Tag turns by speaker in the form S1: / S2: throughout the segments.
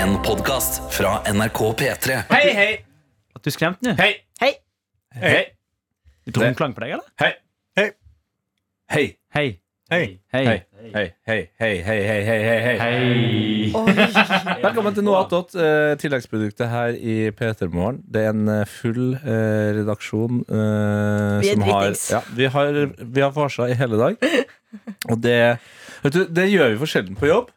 S1: En podcast fra NRK P3
S2: Hei, hei,
S3: At du skremte nå?
S2: hei,
S4: Hei.
S2: hei,
S3: Litt romklang på deg, eller?
S2: hei, hei,
S3: Hei.
S2: hei,
S3: Hei.
S2: hei, hei, hei, hei, hei, hei, hei, hei, hei. Velkommen til noe attåt, eh, tilleggsproduktet her i P3 Morgen. Det er en eh, full eh, redaksjon eh,
S4: Vi er
S2: som har,
S4: dritings.
S2: ja, vi har Vi har farsa i hele dag. Og det, vet du, det gjør vi for sjelden på jobb.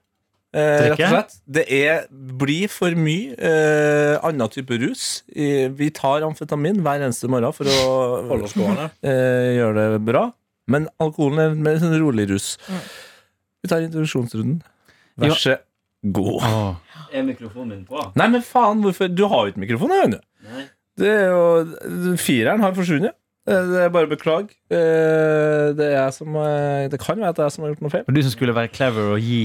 S2: Eh, rett og
S3: Drikke?
S2: slett. Det er, blir for mye eh, annen type rus. I, vi tar amfetamin hver eneste morgen for å eh, gjøre det bra. Men alkoholen er mer sånn rolig rus. Vi tar introduksjonsrunden.
S3: Jo.
S2: Vær så god.
S3: Åh.
S5: Er mikrofonen min på?
S2: Nei, men faen, hvorfor Du har jo ikke mikrofon, Aune.
S5: Nei.
S2: Det er jo Fireren har forsvunnet. Eh, Det er bare beklag. Eh, Det er jeg som eh, Det kan være at det er jeg som har gjort noe feil.
S3: Og du som skulle være clever og gi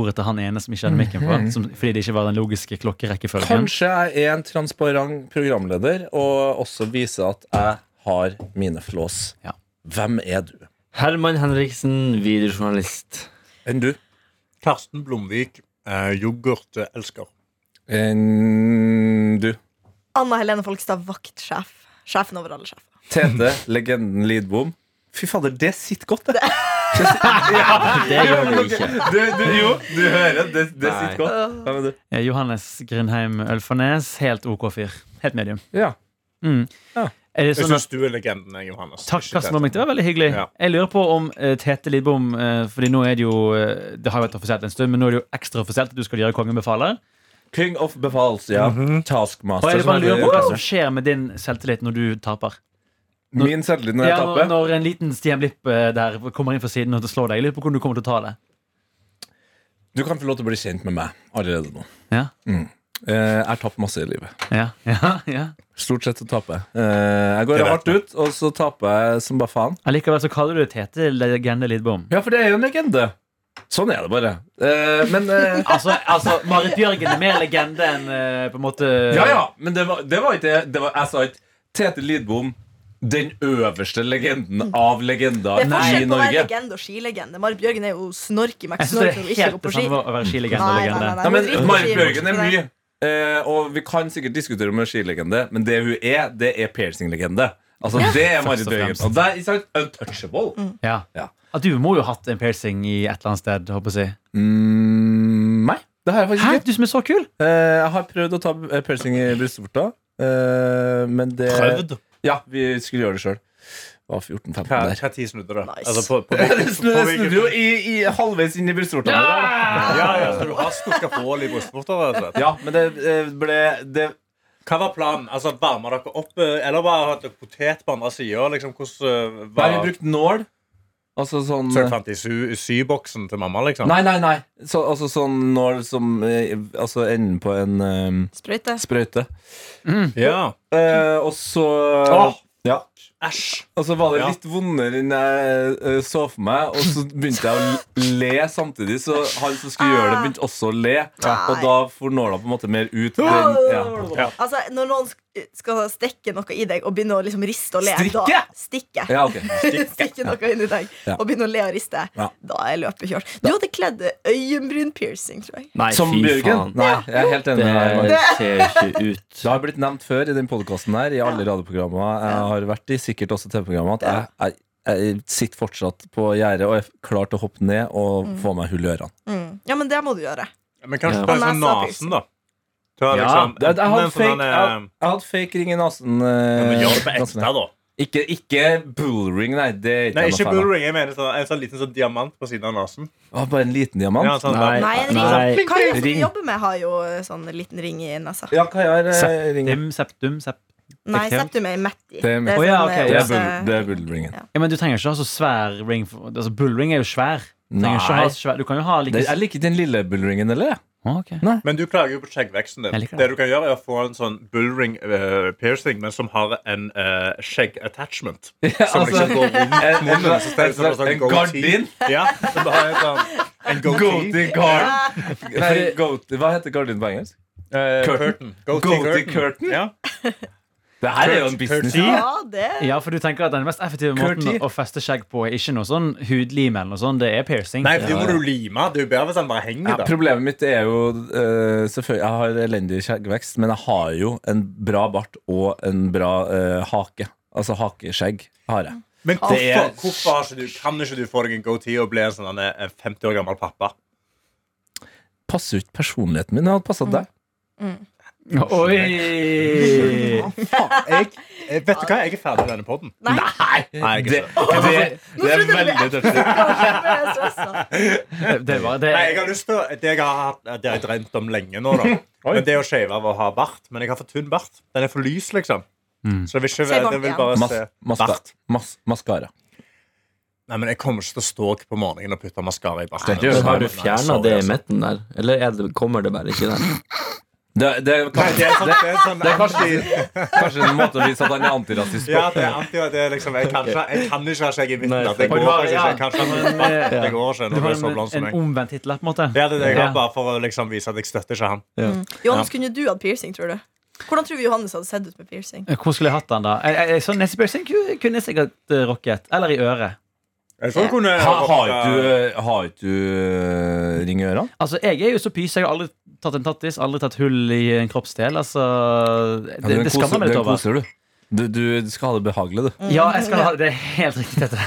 S3: ordet til han ene som ikke hadde mikken på, som, fordi det ikke var den logiske klokkerekkefølgen.
S2: Kanskje jeg er en transparent programleder og også viser at jeg har mine flås.
S3: Ja.
S2: Hvem er du?
S5: Herman Henriksen, videojournalist.
S2: Enn du?
S6: Karsten Blomvik, eh, yoghurtelsker.
S2: Enn du.
S4: Anna Helene Folkestad, vaktsjef. Sjefen over alle sjefer.
S2: Tete, legenden Lidbom. Fy fader, det sitter godt, det.
S5: Det gjør du ikke.
S2: Du, du, jo, du hører. Det, det
S5: Nei.
S2: sitter godt. Hvem er du?
S3: Eh, Johannes Grindheim Ølfarnes, helt OK fyr. Helt medium.
S2: Ja.
S3: Mm.
S2: Ja.
S3: Er det
S6: Jeg
S3: sånn at
S6: syns du er legenden, jeg, Johannes.
S3: Takk,
S6: Ikke
S3: Karsten
S6: Tete.
S3: Blomvik. Det var veldig hyggelig.
S6: Ja.
S3: Jeg lurer på om eh, Tete Lidbom eh, Fordi nå er det jo eh, Det har jo vært offisielt en stund, men nå er det jo ekstra offisielt at du skal gjøre Kongen befaler.
S2: King of Befals, ja.
S3: Og
S2: Taskmaster.
S3: jeg
S2: som
S3: bare
S2: er
S3: lurer på Hva som
S2: det-
S3: skjer med din selvtillit når du taper?
S2: Min selvtillit når jeg
S3: Ja, når,
S2: tapper.
S3: når en liten Stian Blipp eh, der kommer inn fra siden og slår deg. Jeg lurer på hvordan du kommer til å ta det.
S2: Du kan få lov til å bli kjent med meg allerede nå.
S3: Ja,
S2: Eh, Jeg har tapt masse i livet.
S3: ja, ja, ja.
S2: Stort sett så taper jeg. Eh, Jeg går
S6: Det vet
S2: hardt ut, og så taper jeg som bare faen.
S3: Allikevel så kaller du det Tete Legende Lidbom.
S2: Ja, for det er jo en legende. Sånn er det bare. Eh, Men eh,
S3: Altså, altså Marit Bjørgen er mer legende enn eh, på en måte
S2: Ja, ja, men det var, det var ikke det. var, jeg sa ikke Tete Lidbom, den øverste legenden av legender
S4: Det er
S2: i
S4: forskjell på å være
S2: Norge.
S4: legende og skilegende. Marit Bjørgen er jo snork i
S3: Jeg synes det
S4: McSnork
S3: er
S4: når hun ikke går
S3: helt
S4: på
S3: det
S4: ski.
S3: samme å være skilegende og
S4: Nei, nei,
S3: legende.
S4: nei, nei.
S2: Nei, men
S4: Hun driter i
S2: Marit
S4: ski,
S2: Bjørgen er
S4: bortsett fra
S2: mye.
S4: det.
S2: Eh, og vi kan sikkert diskutere om hun er skilegende, men det hun er, det er piercinglegende. Altså, det er Marit
S3: Først og
S2: Bjørgen.
S3: fremst.
S2: Og det er ikke sant, untouchable.
S4: Mm.
S3: Ja.
S2: Ja.
S3: At du må jo ha hatt en piercing i et eller annet sted. håper jeg å si.
S2: Mm, nei, det har jeg
S3: Hæ,
S2: faktisk ikke.
S3: du som er så kul!
S2: Eh, jeg har prøvd å ta eh, piercing i brystvorta, eh, men det
S6: Prøvd.
S2: Ja, vi skulle gjøre det sjøl. Var 14-15
S6: Hva
S2: der.
S6: hva tid snudde det?
S4: Nice.
S6: Altså, på, på, på,
S2: Det snudde jo
S6: hvilken-
S2: i, i halvveis inn i brystvorta. Ja!
S6: ja, ja, så du har stukket hull i brystvorta? rett og slett.
S2: ja, men det eh, ble det,
S6: Hva var planen? Altså, Varme dere opp, eh, eller bare ha et potet på andre sida? Liksom, hvordan eh,
S2: Nei, vi
S6: var
S2: brukte nål. Altså sånn
S6: Så du fant i sy- syboksen til mamma, liksom?
S2: Nei, nei, nei. Så, altså sånn nål som eh, Altså enden på en eh,
S4: Sprøyte.
S2: sprøyte.
S6: Ja.
S2: Eh, og så
S6: Åh,
S2: ja.
S6: æsj!
S2: Og så var det
S6: Ja.
S2: litt vondere enn jeg eh, så for meg, og så begynte jeg å le samtidig. Så han som skulle gjøre det, begynte også å le, og da får nåla på en måte mer ut. Den, ja.
S4: Altså, når noen sk- skal stikke noe i deg og begynne å liksom riste og le
S2: Strikke?
S4: da- Stikke!
S2: ja, ok.
S4: Stikke noe inn i deg
S2: Ja.
S4: og begynne å le og riste.
S2: Ja.
S4: Da er løpet kjørt. Du hadde kledd øyenbrynpiercing, tror jeg.
S5: Nei,
S2: Som
S5: fy
S2: Bjørgen?
S5: faen.
S2: Nei, jeg er helt enig.
S5: Det
S2: med deg, Magnus.
S5: ser ikke ut.
S2: Det har blitt nevnt før i den podkasten her, i alle radioprogrammer jeg har vært i, sikkert også TV-programmer, at jeg, jeg, jeg sitter fortsatt på gjerdet og er klar til å hoppe ned og få meg hull i ørene.
S4: Mm. Ja, men det må du gjøre.
S6: Men kanskje
S5: Ja.
S6: bare
S4: Og
S6: sånn
S4: nesa
S6: nesen, da. Du har
S3: Ja,
S6: liksom
S2: Jeg, jeg, hadde
S6: enten en
S2: fake,
S6: sånn,
S2: jeg,
S6: eh,
S2: hadde- jeg hadde fake ring i nesen.
S6: ja,
S2: eh,
S6: men Gjør det på
S2: nesen.
S6: ekte, da.
S2: Ikke, ikke bullring, nei. Det er
S6: Nei,
S2: jeg noe
S6: ikke
S2: fan av.
S6: blue ring. Jeg mener sånn, en sånn liten sånn diamant på siden av nesen.
S2: Å, bare en liten diamant?
S6: Ja,
S2: Ja,
S6: sånn,
S5: Nei.
S4: Nei, en
S5: Nei.
S4: ring. Kaja som
S2: Ring.
S4: vi jobber med, har jo eh, sånn liten ring i nesa.
S2: hva gjør eh, ringen?
S3: Septum, septum, septum.
S4: Nei,
S3: Septum.
S4: septum er Matti.
S2: Det er Matti.
S3: Å, ja, ok,
S4: eh,
S2: Det er,
S4: også-
S2: bull, det er bullringen.
S4: Ja.
S3: Ja, men du trenger ikke ha så svær ring. for- Altså, Bullring er jo svær. Du, trenger ikke
S2: Nei.
S3: ha så svær. du kan jo ha like
S2: Det, jeg liker ikke den lille bullringen, eller?
S3: Å, ok.
S6: Men du klager jo på skjeggveksten
S3: Jeg
S6: din.
S3: liker det.
S6: Det du kan gjøre, er å få en sånn bullring eh, piercing, men som har en eh, skjegg-attachment.
S2: altså,
S6: Som liksom går rundt
S2: en-
S6: munnen.
S2: en-
S6: så stedet for
S2: en-
S6: sånn
S2: en
S6: goatee.
S2: gardin?
S6: Ja. Så du har en sånn en goatee.
S2: guard. Nei, goatee- Hva heter gardin på engelsk?
S6: Eh,
S2: Curtain.
S6: curtain. Goatee
S2: Goatee curtain?
S6: Ja.
S2: Det her er jo en business.
S4: Ja, det
S3: Ja, for du tenker at den mest effektive måten
S2: Curti.
S3: å feste skjegg på er ikke noe sånn hudlim eller noe sånt, det er piercing.
S6: Nei, for det må du lime. Det er jo bedre hvis han bare
S2: Ja,
S6: henger der.
S2: problemet mitt er jo eh, Selvfølgelig, Jeg har elendig skjeggvekst, men jeg har jo en bra bart og en bra eh, hake. Altså hakeskjegg har jeg.
S6: Men hvorfor,
S2: Det er-
S6: hvorfor har ikke du, kan ikke du få deg en goatee og bli en sånn en, eh, 50 år gammel pappa?
S2: Passer jo ikke personligheten min. Jeg hadde passet deg.
S3: Oi!
S6: Jeg, jeg, vet du hva? Jeg er ferdig med denne poden.
S4: Nei,
S6: Nei, jeg er ikke det.
S2: Det,
S4: Nå trodde jeg det ble
S2: tøft.
S4: Kjempestressa.
S3: Det, det var det.
S6: Nei, jeg har lyst til å- Det jeg har, hatt- det har jeg drømt om lenge nå, da. Men det å shave av å ha bart. Men jeg har for tynn bart. Den er for lys, liksom. Så det vil
S4: Se
S6: ikke
S4: bort
S6: det vil
S4: igjen.
S6: bare
S2: Mas,
S6: se
S2: maska,
S6: bart.
S2: mas, maskara.
S6: Nei, men jeg kommer ikke til å stå opp på morgenen og putte maskara i barten.
S2: Det gjør
S5: Men har du
S6: Nei,
S5: fjerna
S6: sorry,
S5: det i
S6: altså.
S5: midten der? Eller er det, kommer det bare ikke der?
S2: Det, det, er
S6: Nei,
S2: kanskje,
S6: det er sånn, det er sånn
S2: det er kanskje, kanskje en måte å vise at han er antirasist på.
S6: Ja, det er alltid det er liksom, jeg, kan ikke, jeg kan ikke ha skjegg i midten.
S5: Nei,
S6: at Det går
S3: du har-
S6: faktisk ikke. Jeg kan ikke ha
S3: ja.
S6: midten, at Det går ikke
S3: Du
S6: når eh, det
S3: har
S6: er så blond
S3: en,
S6: som
S3: en
S6: meg.
S3: omvendt Hitler, på en måte.
S6: Ja, det er det jeg
S3: Ja.
S6: har, bare for å liksom vise at jeg støtter ikke han.
S4: Johannes, kunne du hatt piercing, tror du? Hvordan tror vi Johannes hadde sett ut med piercing?
S3: Hvor skulle jeg hatt den, da? Jeg, jeg, jeg- sånn nesepiercing ku- kunne jeg sikkert eh, rocket. Eller i øret.
S6: Jeg tror jeg kunne
S2: Ha, har ikke du, har ikke du eh, ring i ørene?
S3: Altså, Jeg er jo så pyse. Jeg har aldri tatt en tattis, aldri tatt hull i en kroppsdel. Altså,
S2: Ja,
S3: det,
S2: den
S3: det skammer
S2: koser-
S3: meg litt
S2: den
S3: over.
S2: koser du. Du, du skal ha det behagelig, du.
S3: Ja, jeg skal ha, det er helt riktig dette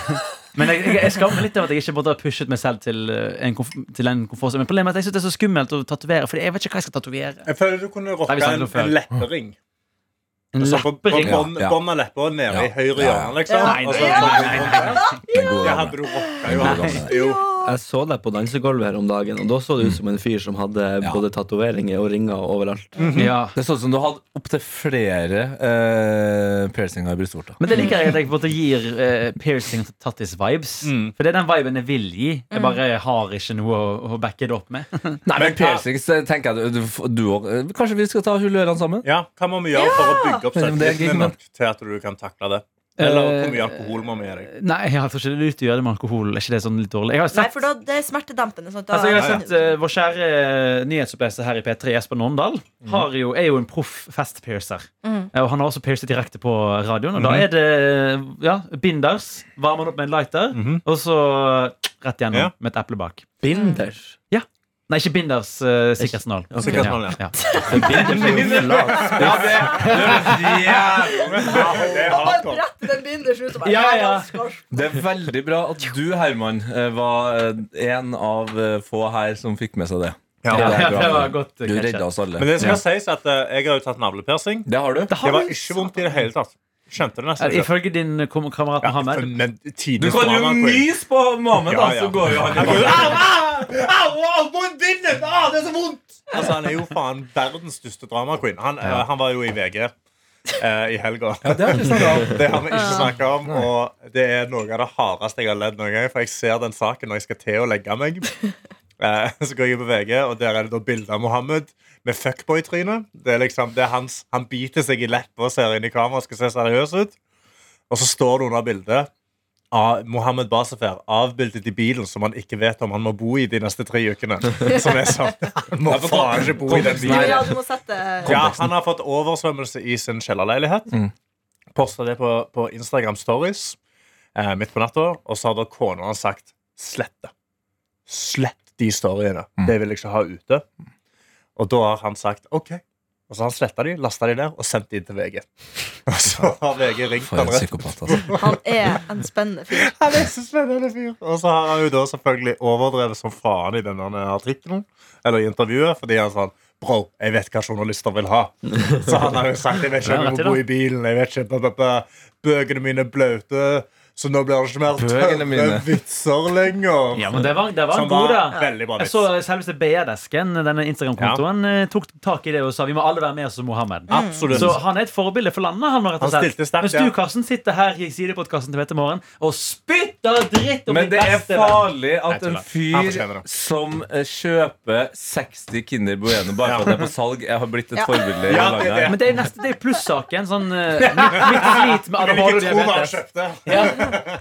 S3: Men jeg, jeg, jeg skammer meg litt over at jeg ikke måtte ha pushet meg selv til eh, en, komf til en komfortzone. Men problemet er at jeg synes det er så skummelt å tatovere, Fordi jeg vet ikke hva jeg skal tatovere.
S6: Jeg føler du kunne rocka
S3: Nei, vi snakket
S6: en,
S3: om før.
S6: en leppering.
S3: En
S6: Så på, Altså, på
S3: leppering.
S2: Ja,
S6: bånd-
S2: ja.
S6: bånd av leppa og nede i
S2: Ja.
S6: høyre hjørne, liksom.
S4: Ja.
S6: Og så-
S3: Nei,
S2: Den gode
S6: Det
S2: damen.
S6: hadde du rocka, jo.
S2: Nei.
S6: Hans. jo.
S5: Jeg så deg på dansegulvet her om dagen, og da så du ut som en fyr som hadde
S2: Ja.
S5: både tatoveringer og ringer overalt.
S3: Ja.
S2: Det er sånn som du hadde opptil flere eh, piercinger i brystvorta.
S3: Men det liker jeg at jeg på en måte gir eh, piercing og tattis-vibes.
S6: Mm.
S3: For det er den viben jeg vil gi. Jeg bare har ikke noe å, å backe det opp med.
S2: Nei, men
S6: Men hva-
S2: piercings eh, tenker jeg du, du, du og- eh, Kanskje vi skal ta hull i ørene sammen?
S6: Ja, hva må vi gjøre for å bygge opp
S2: Men det er ikke
S6: selvtilliten
S2: noe-
S6: nok til at du kan takle det? Eller hvor mye
S3: Eh,
S6: alkohol må vi gi deg?
S3: Nei, jeg tror ikke det er lurt å gjøre det med alkohol. Er ikke det sånn litt dårlig? Jeg har
S4: Nei,
S3: sett,
S4: for da, det er smertedempende. Sånn at da,
S3: altså, jeg har
S6: Ja,
S3: sett eh, Vår kjære uh, nyhetsoppleser her i P3, Jesper Nåndal,
S6: Mhm.
S3: har jo, er jo en proff festpiercer.
S4: Mm.
S3: Eh, Og han har også piercet direkte på radioen. Og
S6: Mhm.
S3: da er det eh, ja, binders. Varmer han opp med en lighter,
S6: Mhm.
S3: og så rett gjennom
S6: Ja.
S3: med et eple bak.
S5: Binders?
S3: Nei, ikke binders. Uh, Sikkerhetsnål.
S6: Sikkerhetsnål, ja.
S3: Ja.
S4: Da
S6: Det er
S4: bare
S6: hardcore.
S4: bretter den bindersen ut og bare
S3: Ja, ja.
S2: Det er veldig bra at du, Herman, eh, var eh, en av eh, få her som fikk med seg det.
S6: Ja.
S2: Det er
S3: Ja,
S2: bra.
S3: det var godt.
S2: Du
S3: catchet.
S2: redda oss
S6: Men
S2: alle.
S6: det skal sies at eh, jeg har jo tatt navlepiercing.
S2: Det har du.
S3: Det har
S6: Det var
S3: du-
S6: ikke vondt i det hele tatt. Skjønte det
S2: altså.
S3: Ja,
S6: nesten ikke.
S3: Eh, Ifølge din kom- kamerat
S6: Ja,
S3: Mohammed.
S6: for- men
S2: Du
S6: tidens
S2: kan jo
S6: drama queen.
S2: nys på Mohammed, da,
S6: Ja, ja.
S2: så går jo han i
S6: Han går jo, Au, au, au, au, vondt bindet! Au, det er så vondt! Altså, han er jo faen verdens største drama queen. Han, eh, han var jo i VG eh, i helga.
S2: Det har vi snakket om.
S6: Det har vi ikke snakka om, og det er noe av det hardeste jeg har ledd noen gang. For jeg ser den saken når jeg skal til å legge meg. Eh, Så går jeg på VG, og der er det da bilde av Mohammed med fuckboy-tryne. Det er liksom, det er hans, Han biter seg i leppa og ser inn i kamera og skal se seriøs ut. Og så står det under bildet av Mohammed Basefer avbildet i bilen som han ikke vet om han må bo i de neste tre ukene. Som er sånn Han må faen ikke bo i den bilen.
S4: Ja, du må sette eh,
S6: Ja, han har fått oversvømmelse i sin kjellerleilighet.
S2: Mm.
S6: Posta det på, på Instagram Stories eh, midt på natta, og så har da kona hans sagt slett det. Slett de storyene.
S2: Mm.
S6: Det vil jeg ikke ha ute. Og da har han sagt OK. Og så har han sletta de, lasta de ned og sendt de inn til VG. Og så har VG ringt
S2: For
S6: han
S2: en
S6: rett.
S2: psykopat, altså.
S4: Han er en spennende fyr.
S6: Han er så spennende fyr. Og så har han jo da selvfølgelig overdrevet som faen i den der artikkelen, eller i intervjuet, fordi han sånn Bro, jeg vet hva journalister vil ha. Så han har jo sagt jeg vet ikke om jeg må bo i bilen. jeg vet ikke, bla, bla, bla. Bøkene mine er blaute, så nå blir det ikke mer
S2: Bøkene
S6: tørre
S2: mine.
S6: vitser lenger.
S3: Ja, men det var, det var
S6: Som
S3: en god,
S6: var
S3: da.
S6: veldig bra
S3: Jeg
S6: vits.
S3: så selveste BR-desken, denne Instagram-kontoen, eh, tok tak i det og sa vi må alle være med som Mohammed.
S6: Absolutt.
S3: Så han er et forbilde for landet. Han, rett og
S6: Mm. Han
S3: slett.
S6: stilte sterkt,
S3: Mens du,
S6: ja.
S3: Karsten, sitter her i sidepodkasten til Petter Morgen og spytter dritt om
S2: Men
S3: din
S2: det er
S3: beste venn.
S2: farlig at en
S6: tuller. Han
S2: fyr
S6: fortjener det.
S2: som eh, kjøper 60 Kinder Bueno bare fordi det er på salg, jeg har blitt et
S4: Ja.
S2: forbilde i
S6: Ja,
S2: landet.
S6: det er
S2: her.
S3: Men det er neste, det er plussaken. Sånn eh, mitt, mitt slit med
S6: Jeg vil
S3: ADHD
S6: ikke
S3: og
S6: tro hva han
S3: diabetes.
S6: kjøpte.
S3: Ja,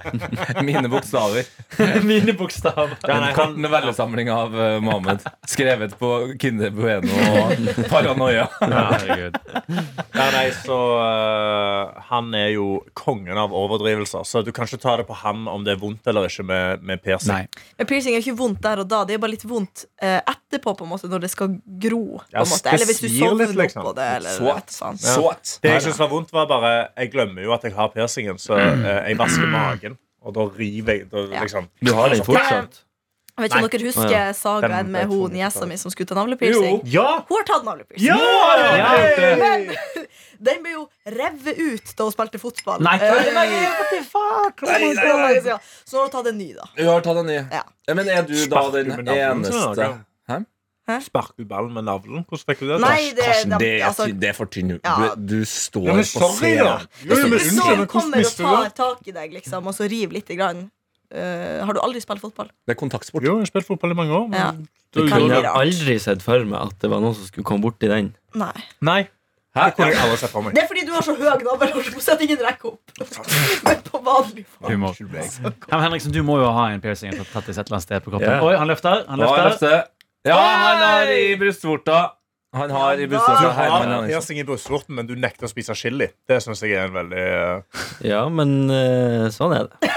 S2: Mine bokstaver.
S3: Mine bokstaver.
S6: Ja,
S2: En
S6: nei,
S2: kort
S6: han-
S2: novellesamling av eh, Mohammed. Skrevet på Kinder Bueno og Paranoia.
S6: Nei, nei, så øh, Han er jo kongen av overdrivelser, så du kan ikke ta det på ham om det er vondt eller ikke med, med piercing.
S3: Nei.
S4: Men piercing er jo ikke vondt der og da. Det er bare litt vondt eh, etterpå, på en måte, når det skal gro. På
S6: Ja,
S4: en måte.
S6: det
S4: Eller hvis du
S6: svir
S4: sovner
S6: litt, liksom.
S4: oppå det. Eller,
S2: Så
S4: vet faen.
S2: Swat.
S6: Det jeg synes var vondt, var bare Jeg glemmer jo at jeg har piercingen, så øh, jeg vasker magen, og da river jeg. Da,
S4: Ja.
S6: liksom
S5: Du har den fortsatt?
S4: Jeg vet ikke om dere husker
S5: Ja,
S6: Den
S4: sagaen med
S6: vet
S4: hun
S6: jeg ikke.
S4: niesa mi som skulle ta navlepiercing?
S6: Ja!
S4: Hun har tatt navlepiercing.
S6: Ja!
S3: Ja.
S4: Men den ble jo revet ut da hun spilte fotball.
S3: Nei.
S4: Eh, så nå har hun tatt en ny, da.
S2: Du har tatt den i.
S4: Ja.
S2: Ja, Men er du da
S6: Sparker
S2: den
S6: med navlen, så
S2: eneste
S6: da,
S2: Hæ?
S6: Sparker du ballen med navlen? Hvordan fikk du det? til?
S4: Nei, det,
S2: Karsten, det er,
S4: altså,
S2: ty- det er for tynt.
S4: Ja.
S2: Du, du står
S6: Ja, men
S2: på
S6: sorry, da!
S2: scenen.
S6: Jo, jo, men
S4: Hvis
S6: unnskyld,
S4: noen
S6: men hvordan
S4: kommer og
S6: mister du
S4: tar
S6: det?
S4: tak i deg liksom, og så river litt, grann, eh, har du aldri spilt fotball?
S2: Det er kontaktsport.
S6: Jo, jeg har spilt fotball i mange år. Men...
S4: Ja.
S5: Du
S4: Det kan
S5: kunne
S4: bli rart.
S5: aldri sett for meg at det var noen som skulle komme borti den.
S4: Nei.
S6: Nei. Det kunne jeg aldri sett for meg.
S4: Det er fordi du har så høy navlepiercing at ingen rekker opp. Men på vanlig fall.
S3: Humor. Ja, men Henriksen, du må jo ha en piercing tatt- tatt i et eller annet sted på kroppen.
S5: Ja.
S3: Oi, han løfter. Han
S2: Ja,
S3: løfter.
S2: jeg løfter. Ja, han har i brystvorta. Han har i
S6: Du
S2: brystvorta Herman
S6: Altså, har
S2: Andersen.
S6: piercing i brystvorten, men du nekter å spise chili. Det syns jeg er en veldig øh,
S5: Ja, men eh, sånn er det.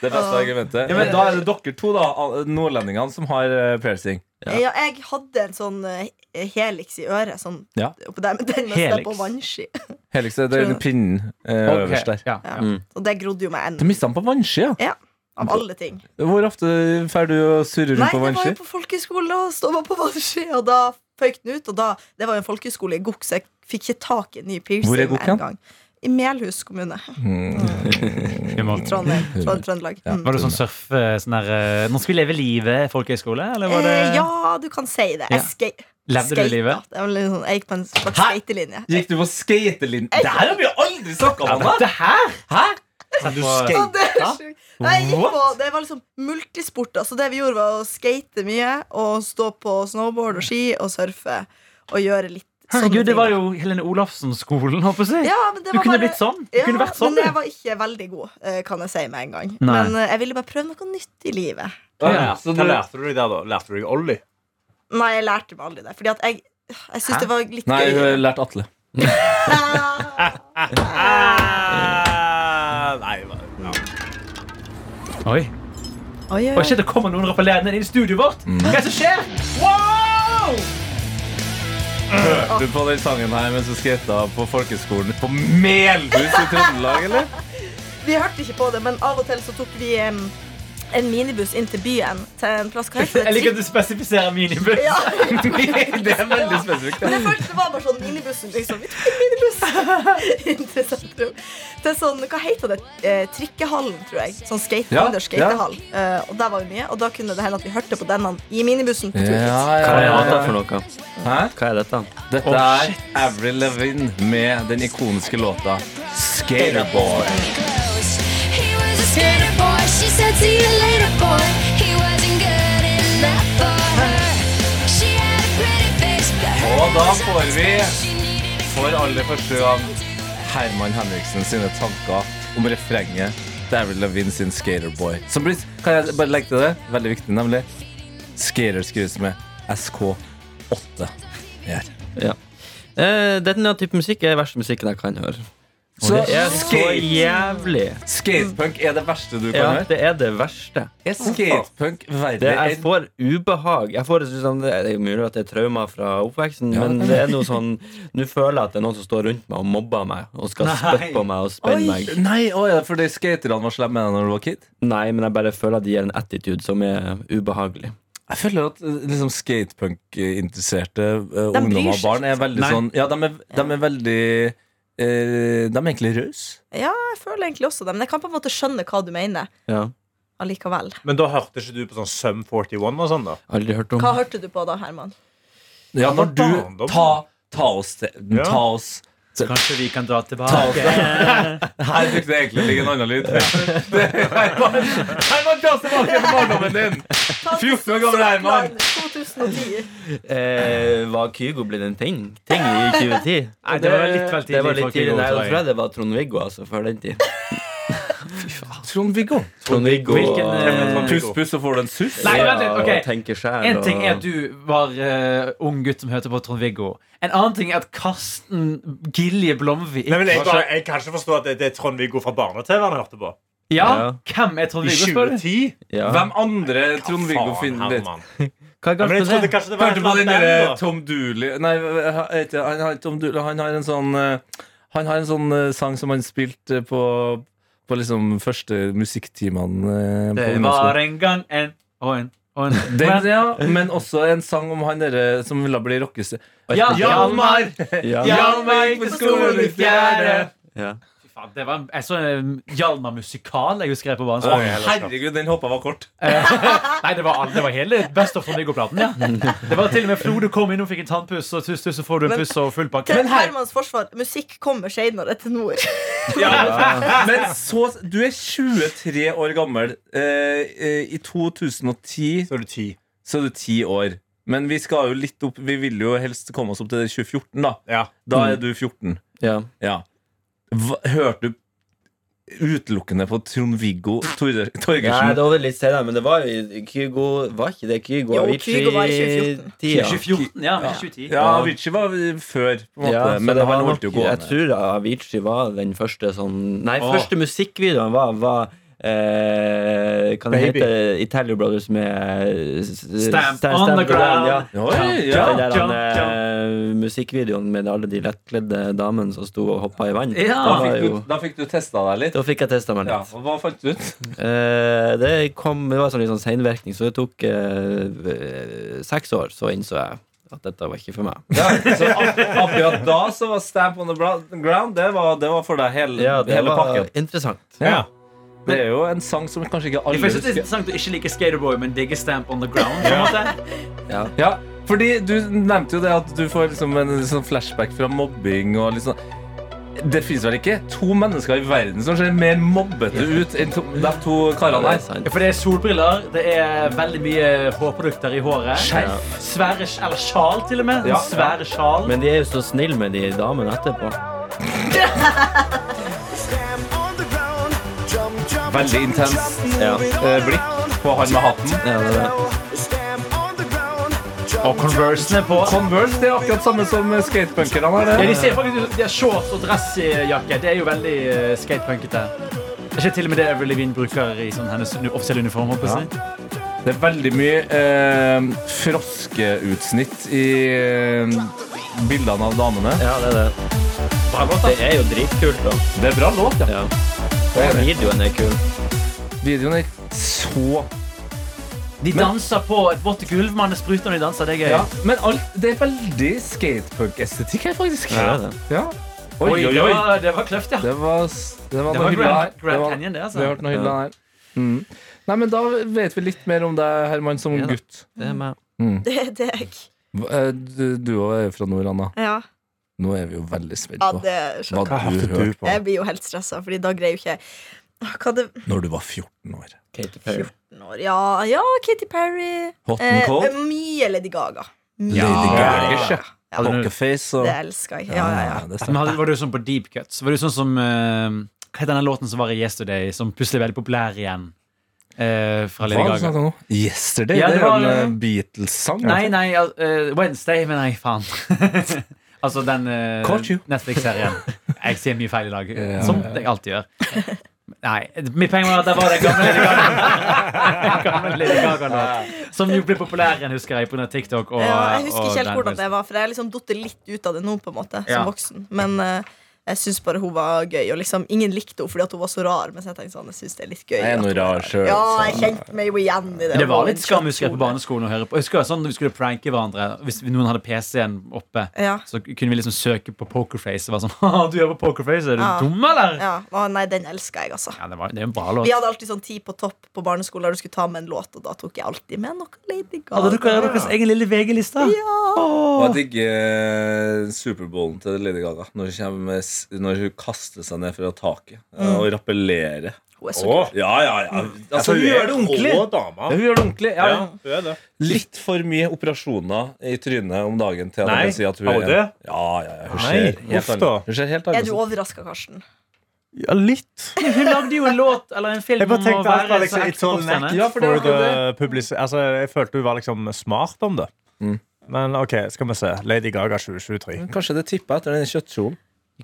S2: Det beste argumentet.
S4: men-
S2: da er det dere to, da, al- nordlendingene, som har eh, piercing.
S5: Ja.
S4: Ja, jeg hadde en sånn eh, helix i øret. Sånn,
S2: Ja.
S4: oppå der, men den mens jeg
S3: Helix.
S4: på vannski.
S2: Helix det er den pinnen eh,
S3: Ok,
S2: øverst der.
S3: Ja.
S4: Ja.
S5: Mm.
S4: Og det grodde jo meg
S2: Du
S4: ennå.
S2: mista den på vannski, ja.
S4: Av alle ting.
S2: Hvor ofte drar du og surrer
S4: Nei,
S2: rundt på
S4: det var
S2: vannski?
S4: jo på folkehøyskole, og stå på vannski, og da føyk den ut. Og da, det var jo en folkehøyskole i Gok, så jeg fikk ikke tak i en ny piercing
S2: Hvor er Gok
S4: med
S2: hen?
S4: en gang. I Melhus kommune.
S3: Humor.
S4: I Trondheim. Trond- Trøndelag.
S2: Ja.
S4: Mm.
S3: Var det sånn surfe sånn der, eh, Nå skal vi leve livet, folkehøyskole? Eller var det
S4: Eh, ja, du kan si det.
S3: Ja.
S4: Jeg skate.
S3: Levde du livet?
S4: Det var litt sånn, jeg gikk på en slags skatelinje.
S2: Gikk du på skatelinjen? Det her har vi aldri snakka om! Anna.
S3: Dette her? Hæ? Du
S4: Å, det er
S3: skata?
S4: sjukt. Nei, jeg gikk på,
S3: What?
S4: det var liksom multisport. da. Så det vi gjorde, var å skate mye og stå på snowboard og ski og surfe. Og gjøre litt
S3: Herregud,
S4: sånne
S3: det
S4: ting,
S3: var
S4: da.
S3: jo Helene Olafsen-skolen, håper jeg. å si.
S4: ja, men det
S3: Du
S4: var
S3: kunne
S4: bare-
S3: blitt sånn. Du kunne vært sånn,
S4: men jeg
S3: du.
S4: var ikke veldig god, eh, kan jeg si med en gang.
S3: Nei.
S4: Men eh, jeg ville bare prøve noe nytt i livet.
S2: Ja, så
S6: Hva
S2: du-
S6: lærte du deg der, da? Lærte du deg ollie?
S4: Nei, jeg lærte meg aldri det. Fordi at jeg, jeg syns det var litt
S2: Nei, hun har
S4: gøy. Ah.
S2: lært Atle.
S6: nei, hva- ja.
S3: Oi.
S4: Oi, oi,
S3: Oi,
S4: oi.
S3: shit, det kommer noen rappellerende inn i studioet vårt. Hva er det som skjer? Wow!
S2: Du på den sangen her mens du skata på folkeskolen på Melhus i Trøndelag, eller?
S4: Vi hørte ikke på det, men av og til så tok vi em, en minibuss inn til byen. Til en plass, hva heter
S3: Jeg
S4: det?
S3: liker at du spesifiserer minibuss.
S4: Ja,
S2: Det er veldig spesifikt.
S4: Men jeg følte det var bare sånn minibussen, liksom. Vi tok en minibuss inn til sentrum. Til sånn, hva heter det? Eh, trikkehallen, tror jeg. Sånn skate,
S2: Ja,
S4: Anders skatehall. Eh, og der var vi mye, og da kunne det hende at vi hørte på denne i minibussen på tur hit.
S5: Hva er dette
S2: ja,
S5: for noe?
S2: Hæ?
S5: Hva er dette?
S2: Dette er Avril Levin med den ikoniske låta Skaterboy.
S7: He was a skater boy. She said, See you later, boy. He wasn't good enough for her. She had a pretty face, but her
S2: Og da
S7: nose
S2: får
S7: was
S2: vi
S7: big. She needed a
S2: for aller første gang Herman Henriksen sine tanker om refrenget til Avril Levin sin Skaterboy. Som blir, kan jeg bare legge til det? Veldig viktig, nemlig. Skater skrives med SK8. Her.
S5: Ja. Eh, denne type musikk er verste musikken jeg kan høre.
S2: Så
S5: Det er så
S2: skate,
S5: jævlig.
S2: skatepunk er det verste du kan
S5: Ja,
S2: høre?
S5: det er det verste.
S2: Er skatepunk
S5: Det,
S2: verre
S5: jeg
S2: enn
S5: får ubehag. Jeg får, liksom, det er mulig at det er traumer fra oppveksten, men det er noe sånn Nå føler jeg at det er noen som står rundt meg og mobber meg og skal spytte på meg og spenne
S4: Oi.
S5: meg.
S2: Nei, å ja, fordi skaterne var slemme med deg når du var kid?
S5: Nei, men jeg bare føler at de gir en attitude som er ubehagelig.
S2: Jeg føler at eh, liksom, skatepunk-interesserte eh,
S4: bryr
S2: ungdom og
S4: seg
S2: barn er veldig
S3: Nei.
S2: sånn Ja, de er, de er veldig eh, De er egentlig rause.
S4: Ja, jeg føler egentlig også det, men jeg kan på en måte skjønne hva du mener
S5: Ja,
S4: allikevel.
S6: Men da hørte ikke du på sånn Sum 41 og sånn, da?
S5: Aldri hørt om.
S4: Hva hørte du på da, Herman?
S2: Ja,
S6: Ja,
S2: når
S6: men
S2: du
S6: barndom.
S2: ta, ta oss til
S6: Ja.
S2: Ta oss
S3: Kanskje vi kan dra
S2: Ta oss
S3: tilbake.
S2: Her brukte jeg egentlig å ligge en annen lyd. Det er Herman, Herman, ta oss tilbake til barndommen din! 14 år gammel Herman.
S4: Plan 2010.
S5: Eh, var Kygo blitt en ting, ting i 2010?
S3: Nei, det var litt vel tidlig
S5: Det
S3: for
S5: var litt tidlig.
S3: Kygo,
S5: Nei,
S3: tror
S5: jeg
S3: jeg.
S5: tror det var Trond-Viggo, altså, før den tid.
S2: Trond-Viggo.
S5: Trond-Viggo
S3: Hvilken, eh,
S5: og-
S2: Puss, puss, så får du en suss.
S3: Nei, vent litt,
S5: og
S3: ok.
S5: tenker sjæl
S3: En ting er
S5: og-
S3: at du var eh, ung gutt som hørte på Trond-Viggo. En annen ting er at Karsten Gilje Blomvik
S6: Nei, men jeg, bare, jeg kan ikke forstå at det, det er Trond-Viggo fra barne-TV han hørte på.
S3: Ja,
S5: Ja.
S3: hvem er
S6: I
S3: Trond-Viggo? spør du?
S6: 2010?
S5: ja.
S2: Hvem andre Trond-Viggo
S6: Faen,
S2: finner
S6: Herman.
S2: litt?
S3: Hva er
S6: Ja, men
S3: galt
S6: jeg trodde
S3: med det?
S6: kanskje det var et
S2: Hørte på den
S6: eller annet
S2: derre
S6: band, da.
S2: Tom Dooley Nei, hva heter det? han har, Tom Dooley, han har en sånn eh, Han har en sånn eh, sang som han spilte eh, på På liksom første musikktimene eh, på
S3: Det
S2: ungdomsskolen.
S3: var en gang en og en og en
S2: den,
S3: Men-
S2: ja, Men også en sang om han derre som ville bli rockestjerne.
S3: Ja,
S2: Hjalmar!
S5: Ja.
S2: Hjalmar gikk på skolen i fjerde!
S5: Ja.
S3: Fy faen, det var en, Jeg så en Hjalmar-musikal jeg husker jeg på barns
S6: Å, jeg heller skal.
S2: Herregud, den hoppa var kort.
S3: Nei, det var, all- det var hele Best of Trond-Viggo-platen. ja Det var til og med Frode kom innom, fikk en tannpuss, og tusen, tusen får du en
S4: Men-
S3: puss og full pakke.
S4: Til Hermans forsvar, musikk kommer senere til nord.
S2: Men så Du er 23 år gammel. Eh, eh, I 2010
S6: Så er du 10.
S2: så er du 10 år. Men vi skal jo litt opp Vi vil jo helst komme oss opp til 2014, da.
S6: Ja.
S2: Da er du 14.
S5: Mm. Ja.
S2: Ja. Hva, hørte du utelukkende på Trond-Viggo Torger-
S5: Nei,
S2: Torgersen?
S5: det var litt senere, men det var jo Kygo Var ikke det Kygo
S4: Jo,
S5: Avicii-
S4: Kygo var i 2014.
S5: tida?
S3: 2014, ja, men 2010.
S2: ja, Avicii var før, på en måte.
S5: Ja, så
S2: men
S5: det var
S2: han
S5: nok,
S2: holdt jo gående.
S5: Jeg tror Avicii var den første sånn Nei,
S3: Åh.
S5: første musikkvideoen var, var eh, Kan det
S6: Baby.
S5: hete Italia Brothers med eh,
S3: Stamp on the ground.
S5: Ja.
S2: Oi, ja.
S5: Ja, den der
S3: Jump,
S5: eh, musikkvideoen med alle de lettkledde damene som sto og hoppa i vann.
S3: Ja.
S5: Da,
S2: Da
S5: var
S2: fikk
S5: jo,
S2: du, da fikk du testa deg litt.
S5: da fikk jeg testa meg
S2: Ja,
S5: litt.
S2: og Hva fant du ut?
S5: Eh, det, kom, det var sånn litt sånn seinvirkning, så det tok eh, seks år, så innså jeg at dette var ikke for meg.
S2: Ja, så ak- akkurat da så var Stamp on the Bra- ground Det var, det var for deg hele,
S5: Ja, det
S2: hele
S5: var
S2: pakken.
S5: interessant.
S2: Ja. Det er jo en sang som kanskje ikke
S3: Jeg
S2: alle
S3: synes det er
S2: husker.
S3: interessant å ikke like Skaterboy, men digge Stamp on the ground. På en måte.
S2: Ja, fordi du nevnte jo det at du får liksom en sånn flashback fra mobbing og liksom det finnes vel ikke to mennesker i verden som ser mer mobbete ut enn to, de to
S5: Ja,
S2: karene
S5: det er
S2: her.
S5: sant.
S3: Ja, For det er solbriller, det er veldig mye hårprodukter i håret.
S2: Skjerf.
S3: Svære, eller sjal, til og med.
S2: Ja.
S3: Svære sjal.
S5: Men de er jo så snille med de damene etterpå.
S2: Veldig intens
S5: Ja.
S2: eh, blikk på han med hatten.
S5: Ja, det er det.
S3: og Conversene på.
S2: Converse det er akkurat samme som skatepunkerne har.
S3: Ja, de
S2: det.
S3: ser faktisk ut De har shorts og dressjakke. Det er jo veldig eh, skatepunkete. Det er ikke til og med det Avril Lavigne bruker i sånn hennes nu- offisielle uniform. håper jeg.
S2: Det er veldig mye eh, froskeutsnitt i eh, bildene av damene.
S5: Ja, det er det. Det er jo dritkult, da.
S2: Det er bra låt, ja.
S5: Ja. Og videoen er kul.
S2: Videoen er så
S3: De danser på et vått gulv. Man spruter når de danser. Det er gøy.
S2: ja. Men alt, det er veldig skatepunk-estetikk her, faktisk.
S5: Ja, det er det.
S2: Ja. Oi, oi,
S3: Oi,
S2: oi.
S3: Det var, det var kløft, ja.
S2: Det var, s- det var
S3: Det
S2: noe
S3: var
S2: hylla her.
S3: Grand,
S2: Det
S3: Grand
S2: var-
S3: Canyon, det.
S2: Vi har
S3: altså
S2: hørt noe hylla her. Mm. Nei, men Da vet vi litt mer om deg, Herman, som
S5: Ja da.
S2: gutt.
S5: Det er meg.
S4: Det er deg.
S2: Hva- eh, Du, du også er fra nord, Anna.
S4: Ja,
S2: Nå er vi jo veldig spent
S4: ja
S2: på
S4: det er sjokk.
S2: hva du hørte
S6: på?
S4: Jeg blir jo helt stressa, Fordi da greier jo ikke jeg Åh, Hva det
S2: når du var 14 år.
S5: Katy Perry.
S4: 14 år Ja, ja Katy Perry.
S2: Hot and
S4: Eh,
S2: cold,
S4: mye Lady Gaga. Mye
S2: Ja,
S4: Lady
S2: Gaga.
S4: Ja,
S2: pokerface og Ah,
S4: det elsker jeg. Ja, ja, ja.
S2: det er
S3: Men
S2: sant.
S3: hadde, var du sånn på deep cuts? Var du sånn som eh, Hva heter denne låten som var i Yesterday, som plutselig er veldig populær igjen? Eh, fra Lady
S2: Hva er det sånn du
S3: Gaga.
S2: snakker om nå? Yesterday?
S3: Ja,
S2: det,
S3: det var-
S2: er en eh, Beatles-sang.
S3: Nei,
S2: altså.
S3: nei, al- eh, Wednesday, men nei, faen. altså den eh,
S2: Caught you.
S3: Netflix-serien. Jeg sier mye feil i dag,
S2: Ja.
S3: som jeg alltid gjør. Nei, mitt poeng var at det var den gamle Lady Gaga. Den gamle Lady Gaga-låten, som jo ble populær igjen, husker jeg, pga. TikTok. Og,
S4: Ja, jeg husker
S3: og
S4: ikke helt
S3: den
S4: hvordan det var, for jeg har liksom datt litt ut av det nå, på en måte, som
S3: Ja.
S4: voksen. Men eh, jeg syns bare hun var gøy, og liksom ingen likte henne fordi at hun var så rar. Mens jeg tenkte sånn, jeg synes det er litt
S2: Jeg
S4: gøy.
S2: er
S4: at-
S2: noe rar sjøl.
S4: Ja, jeg kjente meg jo igjen i det.
S3: Men Det var
S4: Hun
S3: litt
S4: en
S3: skam husker jeg på
S4: kjøttkjole.
S3: barneskolen å høre på. Jeg husker det var sånn når vi skulle pranke hverandre Hvis noen hadde PC-en oppe,
S4: Ja.
S3: så kunne vi liksom søke på Pokerface. Og var sånn, «Haha, du hører på Pokerface, er du
S4: Ja.
S3: dum, eller?
S4: Ja, å, nei, den elska jeg, altså.
S3: Ja, det, var, det er en bra låt.
S4: Vi hadde alltid sånn ti på topp på barneskolen der du skulle ta med en låt, og da tok jeg alltid med noe Lady Gaga.
S3: Hadde dere deres egen lille VG-liste?
S2: Og jeg digger Superbowlen
S6: Mm.
S2: til Lady Gaga når, hun kommer med s- når hun kaster seg ned fra taket eh, og rappellerer.
S4: Hun er så
S6: Åh,
S4: kul.
S2: Ja, ja, ja. Altså,
S6: altså,
S2: hun gjør det ordentlig.
S6: Hun er en rå dame.
S2: Ja, hun gjør det ordentlig. Ja,
S6: Ja,
S2: ja.
S6: hun er det.
S2: Litt for mye operasjoner i trynet om dagen til at
S6: Nei,
S2: jeg kan si at hun
S6: har
S2: er
S6: hun det?
S2: Ja, ja, ja. Hun
S6: Nei,
S2: ser helt
S6: uff da.
S2: annerledes- Hun ser helt
S4: Er du
S2: annerledes ut.
S4: overraska, Karsten?
S6: Ja, litt.
S3: Hun lagde jo en låt eller en film
S6: Jeg bare
S3: om å
S6: tenkte alt var
S3: være
S6: liksom
S3: så
S6: it's all
S3: ektepoppstjerne.
S6: neck
S2: Ja, for det
S6: for
S2: var
S6: the public- Altså, jeg følte hun var liksom smart om det.
S2: Mm.
S6: Men OK, skal vi se. Lady Gaga 2023.
S2: Kanskje det tippa etter den kjøttkjolen.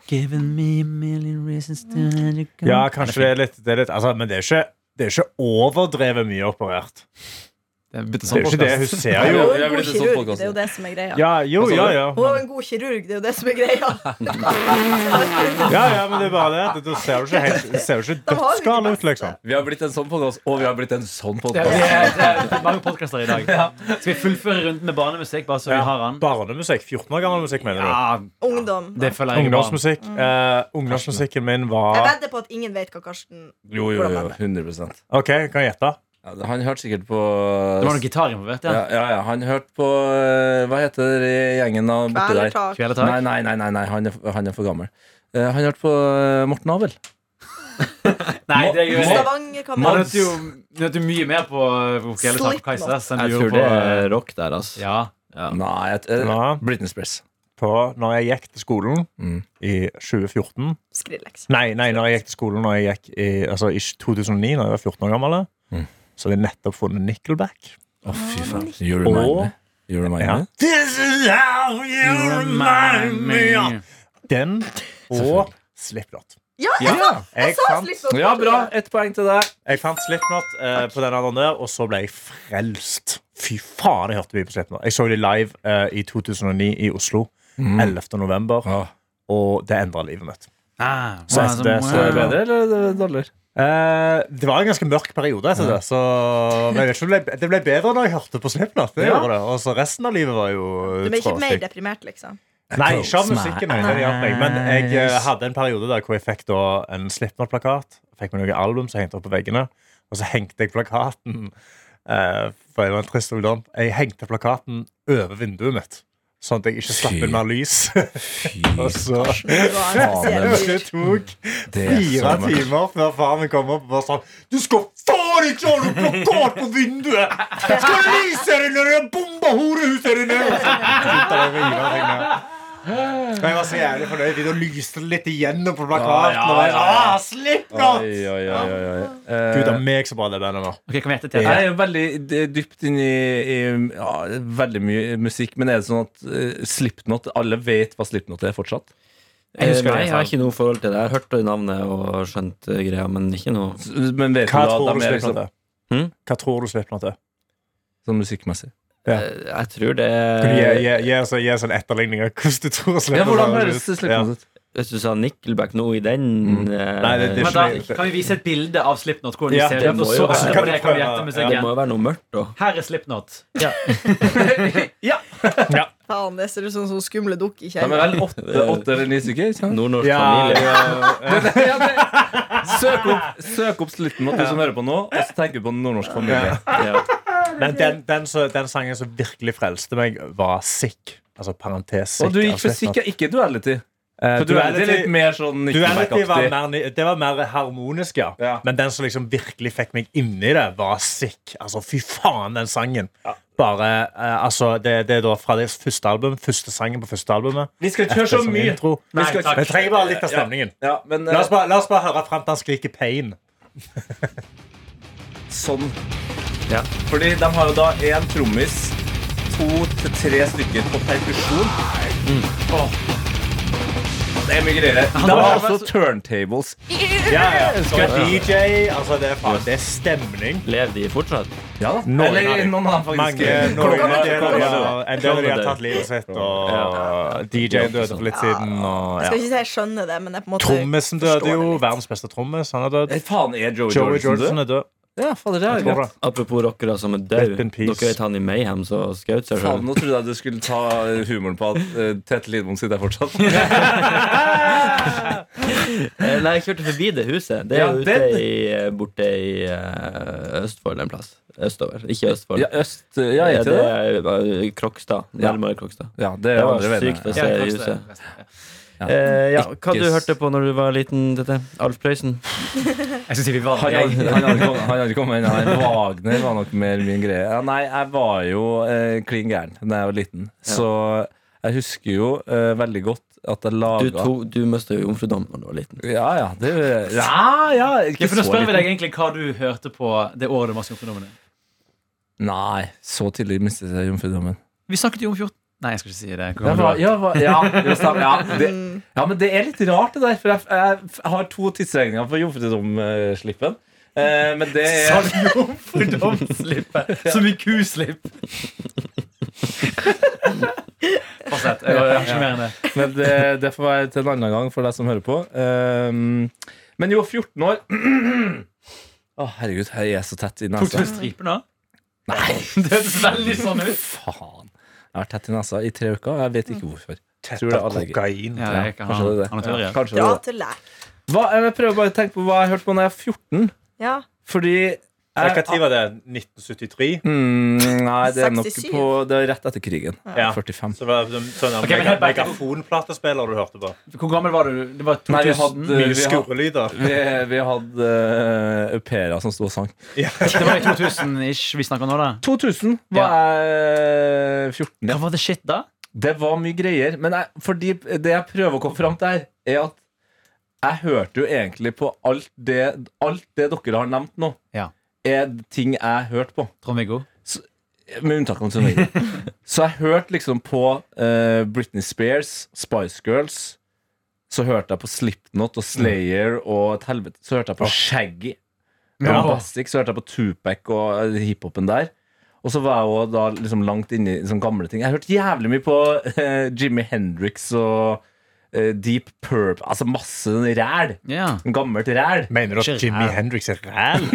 S3: Given me a million reasons to let you go.
S6: Ja, kanskje det er litt, det er litt altså, Men det er ikke det er ikke overdrevet mye operert.
S3: Det er bytte
S2: sånn
S6: Det er jo ikke det. Hun
S4: Hun
S6: ser
S4: er
S6: jo
S4: jo
S2: jeg
S4: en
S2: blir
S4: god
S2: litt sånn
S4: kirurg.
S2: podcast.
S4: Det er jo det som er greia.
S6: Ja, jo, ja, ja.
S4: Hun er jo en god kirurg. Det er jo det som er greia.
S6: Ja, ja, men det er bare det. at Da ser du ikke, helt- det ser jo ikke
S4: Da har vi ikke
S6: dødsgal ut,
S4: masse.
S6: liksom.
S2: Vi har blitt en sånn podkast, og vi har blitt en sånn
S3: Det
S2: podkast.
S3: er, det er mange podkaster i dag. Skal vi fullføre runden med barnemusikk, bare så vi har den?
S6: Barnemusikk. 14 år gammel musikk, mener du?
S3: Ja,
S4: Ungdom.
S3: det føler jeg er bra.
S6: Ungdomsmusikk. Eh, ungdomsmusikken min
S4: Mm. Jeg
S6: var
S4: vedder på at ingen vet hva Karsten
S2: Jo, jo, jo. 100
S6: OK, kan jeg gjette?
S2: ja, Han hørte sikkert på
S3: Det var noe gitar involvert,
S2: ja,
S3: ja.
S2: ja, ja, Han hørte på eh, Hva heter det i gjengen av borti der?
S4: Kvelertak.
S3: Kvelertak.
S2: Nei, nei, nei, nei, nei han, er, han er for gammel. Eh, han hørte på eh, Morten Abel.
S3: Nei, det gjør jeg ikke. Man
S4: Stavangerkamerat.
S3: hørte jo du hørte jo mye mer på på Kvelertak Kaisers enn du
S5: Jeg
S3: gjorde
S5: tror det
S3: på
S5: er rock der, altså.
S3: Ja.
S2: Nei, et, eh,
S6: Ja.
S2: Britney Spears.
S6: På når jeg gikk til skolen
S2: Mm.
S6: i 2014
S4: Skrillex.
S6: Nei, nei, når jeg gikk til skolen når jeg gikk i, altså, i 2009, når jeg var 14 år gammel,
S2: Mm.
S6: så hadde jeg nettopp funnet Nickelback.
S2: Å, fy faen. You remind
S6: Og-
S2: me. You remind
S6: Ja.
S2: me.
S6: This is how you remind me of. Den og Slipknot.
S4: Ja, jeg,
S2: Ja.
S6: Jeg
S4: sa
S6: fant,
S4: Slipknot.
S2: ja, bra. Ett poeng til deg.
S6: jeg fant Slipknot eh, på den andre der, og så ble jeg frelst. Fy faen, jeg hørte mye på Slipknot. Jeg så de live eh, i 2009 i Oslo.
S4: Mhm.
S6: 11. november.
S2: Ja.
S6: Og det endra livet mitt.
S3: Ah,
S6: Så etter det så er det bedre.
S2: Bedre eller dårligere?
S6: Eh, det var en ganske mørk periode etter det. Så men jeg vet ikke, om det, ble, det ble bedre da jeg hørte på Slipknot. Det gjorde det. Og så resten av livet var jo
S4: Du er ikke mer
S6: tråkig.
S4: deprimert, liksom?
S6: Nei, ikke av musikken. Nei, det hjalp meg. Men jeg eh, hadde en periode der hvor jeg fikk da en Slipknot-plakat. Fikk meg noen album som jeg hengte opp på veggene. Og så hengte jeg plakaten eh, For jeg var en trist ungdom. Jeg hengte plakaten over vinduet mitt. Sånn at jeg ikke slapp inn mer lys. og så
S4: Det var en spesiell
S6: Det
S4: fyr.
S6: tok
S2: Det er
S6: Fire
S2: så mørkt.
S6: timer før faren min kom opp og bare sa Du skal faen ikke ha noe plakat på vinduet! Jeg skal lyse deg når jeg bomber horehuset ditt ned! Og så begynte jeg å rive ting ned. Men jeg var så jævlig fornøyd. Da lyste det litt igjennom på plakaten. Og jeg, ah, slipp nå!
S2: Oi, oi, oi, oi, oi. Eh,
S6: Gud, det er meg så bra det bandet var.
S3: Ok, kan vi gjette til?
S2: Jeg er veldig d- dypt inn i, i ja, veldig mye musikk, men er det sånn at eh, Slipknot Alle vet hva Slipknot er fortsatt?
S5: Jeg
S3: husker det,
S5: Nei, Eh, jeg
S3: altså.
S5: har ikke noe forhold til det. Jeg har hørt navnet og skjønt eh, greia, men ikke noe
S2: S- Men vet du
S6: Hva
S2: at de
S6: tror du
S2: er
S6: Slipknot
S2: liksom,
S6: er?
S5: Hm?
S6: Hva tror du Slipknot er?
S2: sånn musikkmessig?
S6: Ja.
S5: Eh, Jeg tror det
S6: Kan du Gi gi- gi oss gi oss en etterligning av hvordan du tror
S2: Ja, hvordan
S6: høres
S2: høres
S6: ut?
S2: Slipknot ut?
S5: Hvis du sa Nickelback nå i den eh,
S6: Nei, det- det
S3: Vent da, Kan vi vise et bilde av Slipknot? Hvordan de
S6: Ja,
S3: ser
S5: det
S3: ut?
S5: må
S3: Og så
S5: jo være-
S3: etterpå det kan vi gjette
S5: det
S3: musikken.
S5: må jo være noe mørkt, da.
S3: Her er Slipknot.
S4: Faen, det ser ut som sånne skumle dukk
S2: De
S4: i
S2: er
S4: kjelleren.
S2: vel åtte, åtte eller ni stykker? ikke sant?
S5: Nordnorsk
S6: Ja,
S5: familie.
S6: ja, ja.
S2: Ja, det- Søk opp, søk opp Slipknot, du som hører på nå, og så tenker du på nordnorsk familie.
S5: Ja.
S6: Men den, den, som- den sangen som virkelig frelste meg, var Sick. Altså parentes Sick.
S2: Og du gikk for
S6: av Slipknot.
S2: sikker, ikke duality.
S6: Eh,
S2: For duality altså. er litt
S6: Duality-
S2: mer sånn
S6: Duality var
S2: Nickelback-aktig.
S6: mer, ny- det var mer harmonisk, ja.
S2: Ja.
S6: Men den som liksom virkelig fikk meg inni det, var Sick. Altså, fy faen, den sangen. Bare, eh, altså, det, det er da fra deres første album. Første sangen på første albumet.
S2: Vi skal ikke høre så
S6: Som
S2: mye.
S6: intro.
S2: Vi
S3: Nei,
S2: skal
S3: takk.
S6: Jeg trenger bare litt av stemningen.
S2: Ja, men
S6: La
S2: eh,
S6: oss bare, la oss bare høre fram til han skriker pain.
S2: sånn
S5: Ja.
S2: Fordi de har jo da én trommis, to til tre stykker på perkusjon. Mm. Åh. Det er mye greier. De
S3: var-
S2: har også turntables.
S6: Ja, ja. Skal DJ Altså, det er, faen, det er stemning.
S5: Lever de fortsatt?
S2: Ja da.
S6: Noen
S2: Eller
S6: av dem.
S2: noen har faktisk
S6: Mange Norge,
S2: Klokka-
S6: det er
S2: klokka-
S6: noe- en del av de har
S5: Klokka-
S6: tatt livet sitt, og DJ-en døde for litt siden. Og,
S4: Jeg skal
S6: ja.
S4: ikke si jeg skjønner det, men jeg på en måte
S6: Trommisen døde
S4: forstår
S6: jo.
S4: det litt.
S6: Verdens beste trommis. Han er død.
S2: Eh, Faen, er Joey,
S6: Joey Jordison
S2: Jordison død?
S6: er død.
S2: Ja, fader, det er
S6: Jeg tror
S2: greit.
S6: det.
S5: Apropos rockere som er
S6: Rest
S5: døde.
S6: in peace.
S5: Dere vet han i Mayhem som skjøt seg
S2: Faen,
S5: sjøl?
S2: nå trodde jeg du skulle ta eh, humoren på at eh, Tete Lidbom sitter der fortsatt.
S5: Eh, Nei, jeg kjørte forbi det huset. Det er
S2: Ja,
S5: jo ute
S2: den-
S5: i, eh, borte i eh, Østfold en plass. Østover. Ikke Østfold.
S2: Ja, øst, eh, ja, jeg
S5: det
S2: til det.
S5: er eh, Krokstad.
S2: Ja.
S5: Nærmere Krokstad.
S2: Ja, det er
S5: Det var
S2: andre veien.
S5: sykt å
S2: Ja.
S5: se i
S3: Ja,
S5: huset.
S3: kanskje det.
S5: Eh, ja, hva
S2: Ikke
S5: du
S2: s-
S5: hørte på når du var liten, dette? Alf Prøysen?
S3: Jeg synes vi var
S2: Han hadde han hadde kommet- han hadde kommet inn her. Wagner var nok mer min greie. Ja, nei, jeg var jo eh, klin gæren da jeg var liten. Så jeg husker jo eh, veldig godt at jeg
S5: Du,
S2: laga
S5: to, du mista jo jomfrudommen da du var liten.
S2: Ja, ja. Det, ja, ja
S3: Ja,
S2: ikke
S3: for Nå
S2: så
S3: spør vi
S2: liten.
S3: deg egentlig hva du hørte på det året du var jomfrudommen.
S2: Nei, så tidlig mistet jeg jomfrudommen.
S3: Vi snakket jo om 14 Nei, jeg skal ikke si det. Hvor
S2: Ja,
S3: gammel
S2: hva-
S3: du var?
S2: ja, hva- ja, jo, stemmer, ja, det, ja, men det er litt rart det der, for jeg, jeg f- har to tidsregninger for jomfrudomslippen. Eh, men det er
S3: Jomfrudomsslippet! Som i kuslipp! Fortsett. Jeg har ikke mer enn det.
S2: Men det, det får være til en annen gang for deg som hører på. Ehm, men jo, 14 år Å, herregud, jeg er så tett i
S3: Tok du
S2: nesa.
S3: en stripe nå? Nei. Det høres veldig sånn ut.
S2: Faen. Jeg har tett i nesa i tre uker, og jeg vet ikke hvorfor.
S6: Tett
S2: Tror det er
S6: av
S2: allergi.
S6: kokain.
S3: Ja, jeg kan ha
S2: Kanskje det er det.
S3: han har teorier.
S2: Kanskje det
S4: Dra
S2: er det.
S4: til lek.
S2: Hva, jeg prøver bare å tenke på hva jeg hørte på da jeg var 14.
S4: Ja.
S2: Fordi
S6: Hva
S2: jeg,
S6: tid var det? 1973?
S2: mm, Nei, det er nok
S4: 67.
S2: på Det er rett etter krigen.
S6: Ja.
S2: 45.
S6: Så det var sånn, sånn
S3: Ok, men
S6: mega,
S3: helt back-
S6: megafonplatespiller du hørte på.
S3: Hvor gammel var du? Det var
S2: Nei, vi
S3: 2000?
S2: hadde,
S6: Mye
S2: vi hadde,
S6: skurrelyder.
S2: vi, vi hadde eh, au pairer som sto og sang.
S3: Det var i 2000-ish vi snakker nå, da.
S2: 2000 var jeg 14.
S3: Hva var det shit da?
S2: Det var mye greier. Men jeg, fordi det jeg prøver å komme fram til her, er at jeg hørte jo egentlig på alt det, alt det dere har nevnt nå,
S3: Ja.
S2: er ting jeg hørte på.
S3: Trond-Viggo?
S2: Med unntak av Trond-Viggo. så jeg hørte liksom på eh, Britney Spears, Spice Girls. Så hørte jeg på Slipknot og Slayer og et helvete. Så hørte jeg på Shaggy. Mm. Ah. Ja.
S3: Ja.
S2: Basic, så hørte jeg på Tupac og eh, hiphopen der. Og så var jeg jo da liksom langt inne i sånne gamle ting. Jeg hørte jævlig mye på eh, Jimmy Hendrix og eh, Deep Purp. Altså masse sånn ræl.
S3: Ja.
S2: Sånn Gammelt ræl.
S6: Mener du
S3: Ikke
S6: at Jimmy
S3: ræl.
S6: Hendrix er ræl?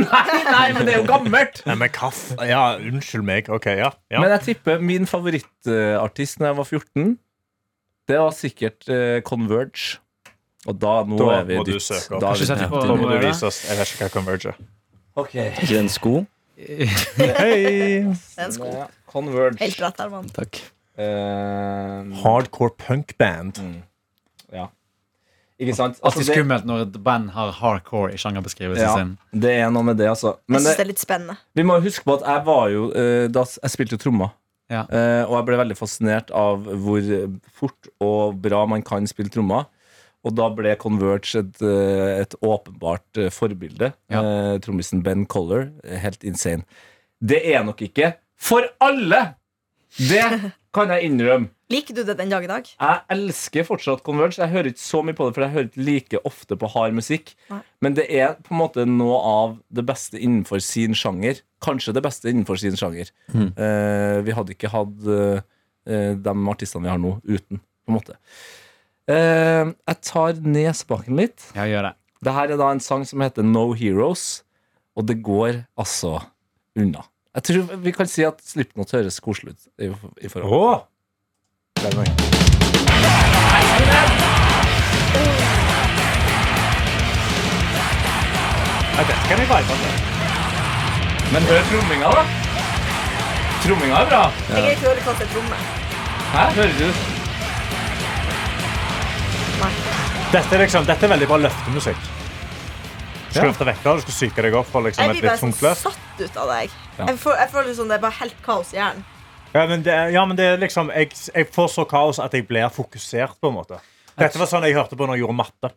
S2: Nei, men det er jo gammelt!
S6: Nei, men hva f... Ja, unnskyld meg. Ok, ja. ja.
S2: Men jeg tipper min favorittartist Når jeg var 14, det var sikkert eh, Converge. Og da, nå
S6: Da
S2: er vi
S6: må du
S2: dypt.
S6: søke opp.
S2: Da er vi
S3: Kanskje sette
S2: dypt
S3: på-
S2: inne.
S6: Da må du
S3: Hva er det?
S6: vise oss. altså. Jeg vet ikke hva Converge er.
S5: Ikke den sko?
S4: Det er en sko.
S2: Ja, Converge.
S4: Helt rett, Herman.
S5: Takk.
S2: Eh,
S6: Hardcore punkband.
S2: ikke sant? Altså,
S3: Alltid
S2: det-
S3: skummelt når et band har hardcore i sjangerbeskrivelsen
S2: Ja,
S3: sin.
S2: det er noe med det, altså.
S4: Jeg
S2: Men
S4: syns det
S2: det,
S4: er litt spennende.
S2: vi må huske på at jeg var jo eh, da, s- Jeg spilte jo trommer.
S3: Ja.
S2: Eh, og jeg ble veldig fascinert av hvor fort og bra man kan spille trommer. Og da ble Converge et, eh, et åpenbart eh, forbilde.
S3: Ja.
S2: Eh, Trommisen Ben Coller. eh, Helt insane. Det er nok ikke for alle! Det kan jeg innrømme.
S4: Liker du det den dag i dag?
S2: Jeg elsker fortsatt Converge. Jeg hører ikke så mye på det, for jeg hører ikke like ofte på hard musikk.
S4: Nei.
S2: Men det er på en måte noe av det beste innenfor sin sjanger. Kanskje det beste innenfor sin sjanger.
S3: Hmm.
S2: Eh, vi hadde ikke hatt eh, eh, de artistene vi har nå, uten, på en måte. Eh, jeg tar ned spaken litt.
S3: Ja, gjør det.
S2: Det her er da en sang som heter No Heroes, og det går altså unna. Jeg tror vi kan si at Slipknot høres koselig ut. i, i forhold.
S6: Åh! Ja, dette kan jeg vibe med.
S2: Men hør tromminga, da. Tromminga er bra.
S4: Jeg greier ikke å høre hva som er tromme.
S2: Hæ? Hører du?
S6: Dette er, liksom, dette er veldig bra løftemusikk. Du skal løfte vekter, du skal syke deg opp for liksom,
S4: Jeg
S6: et
S4: blir bare
S6: litt
S4: sånn
S6: tungt løft.
S4: satt ut av deg. Jeg, får, jeg føler som det er bare helt kaos i hjernen.
S6: Ja, men det, er- ja, men det er liksom jeg, jeg får så kaos at jeg blir fokusert, på en måte. Dette var sånn jeg hørte på når jeg gjorde matte.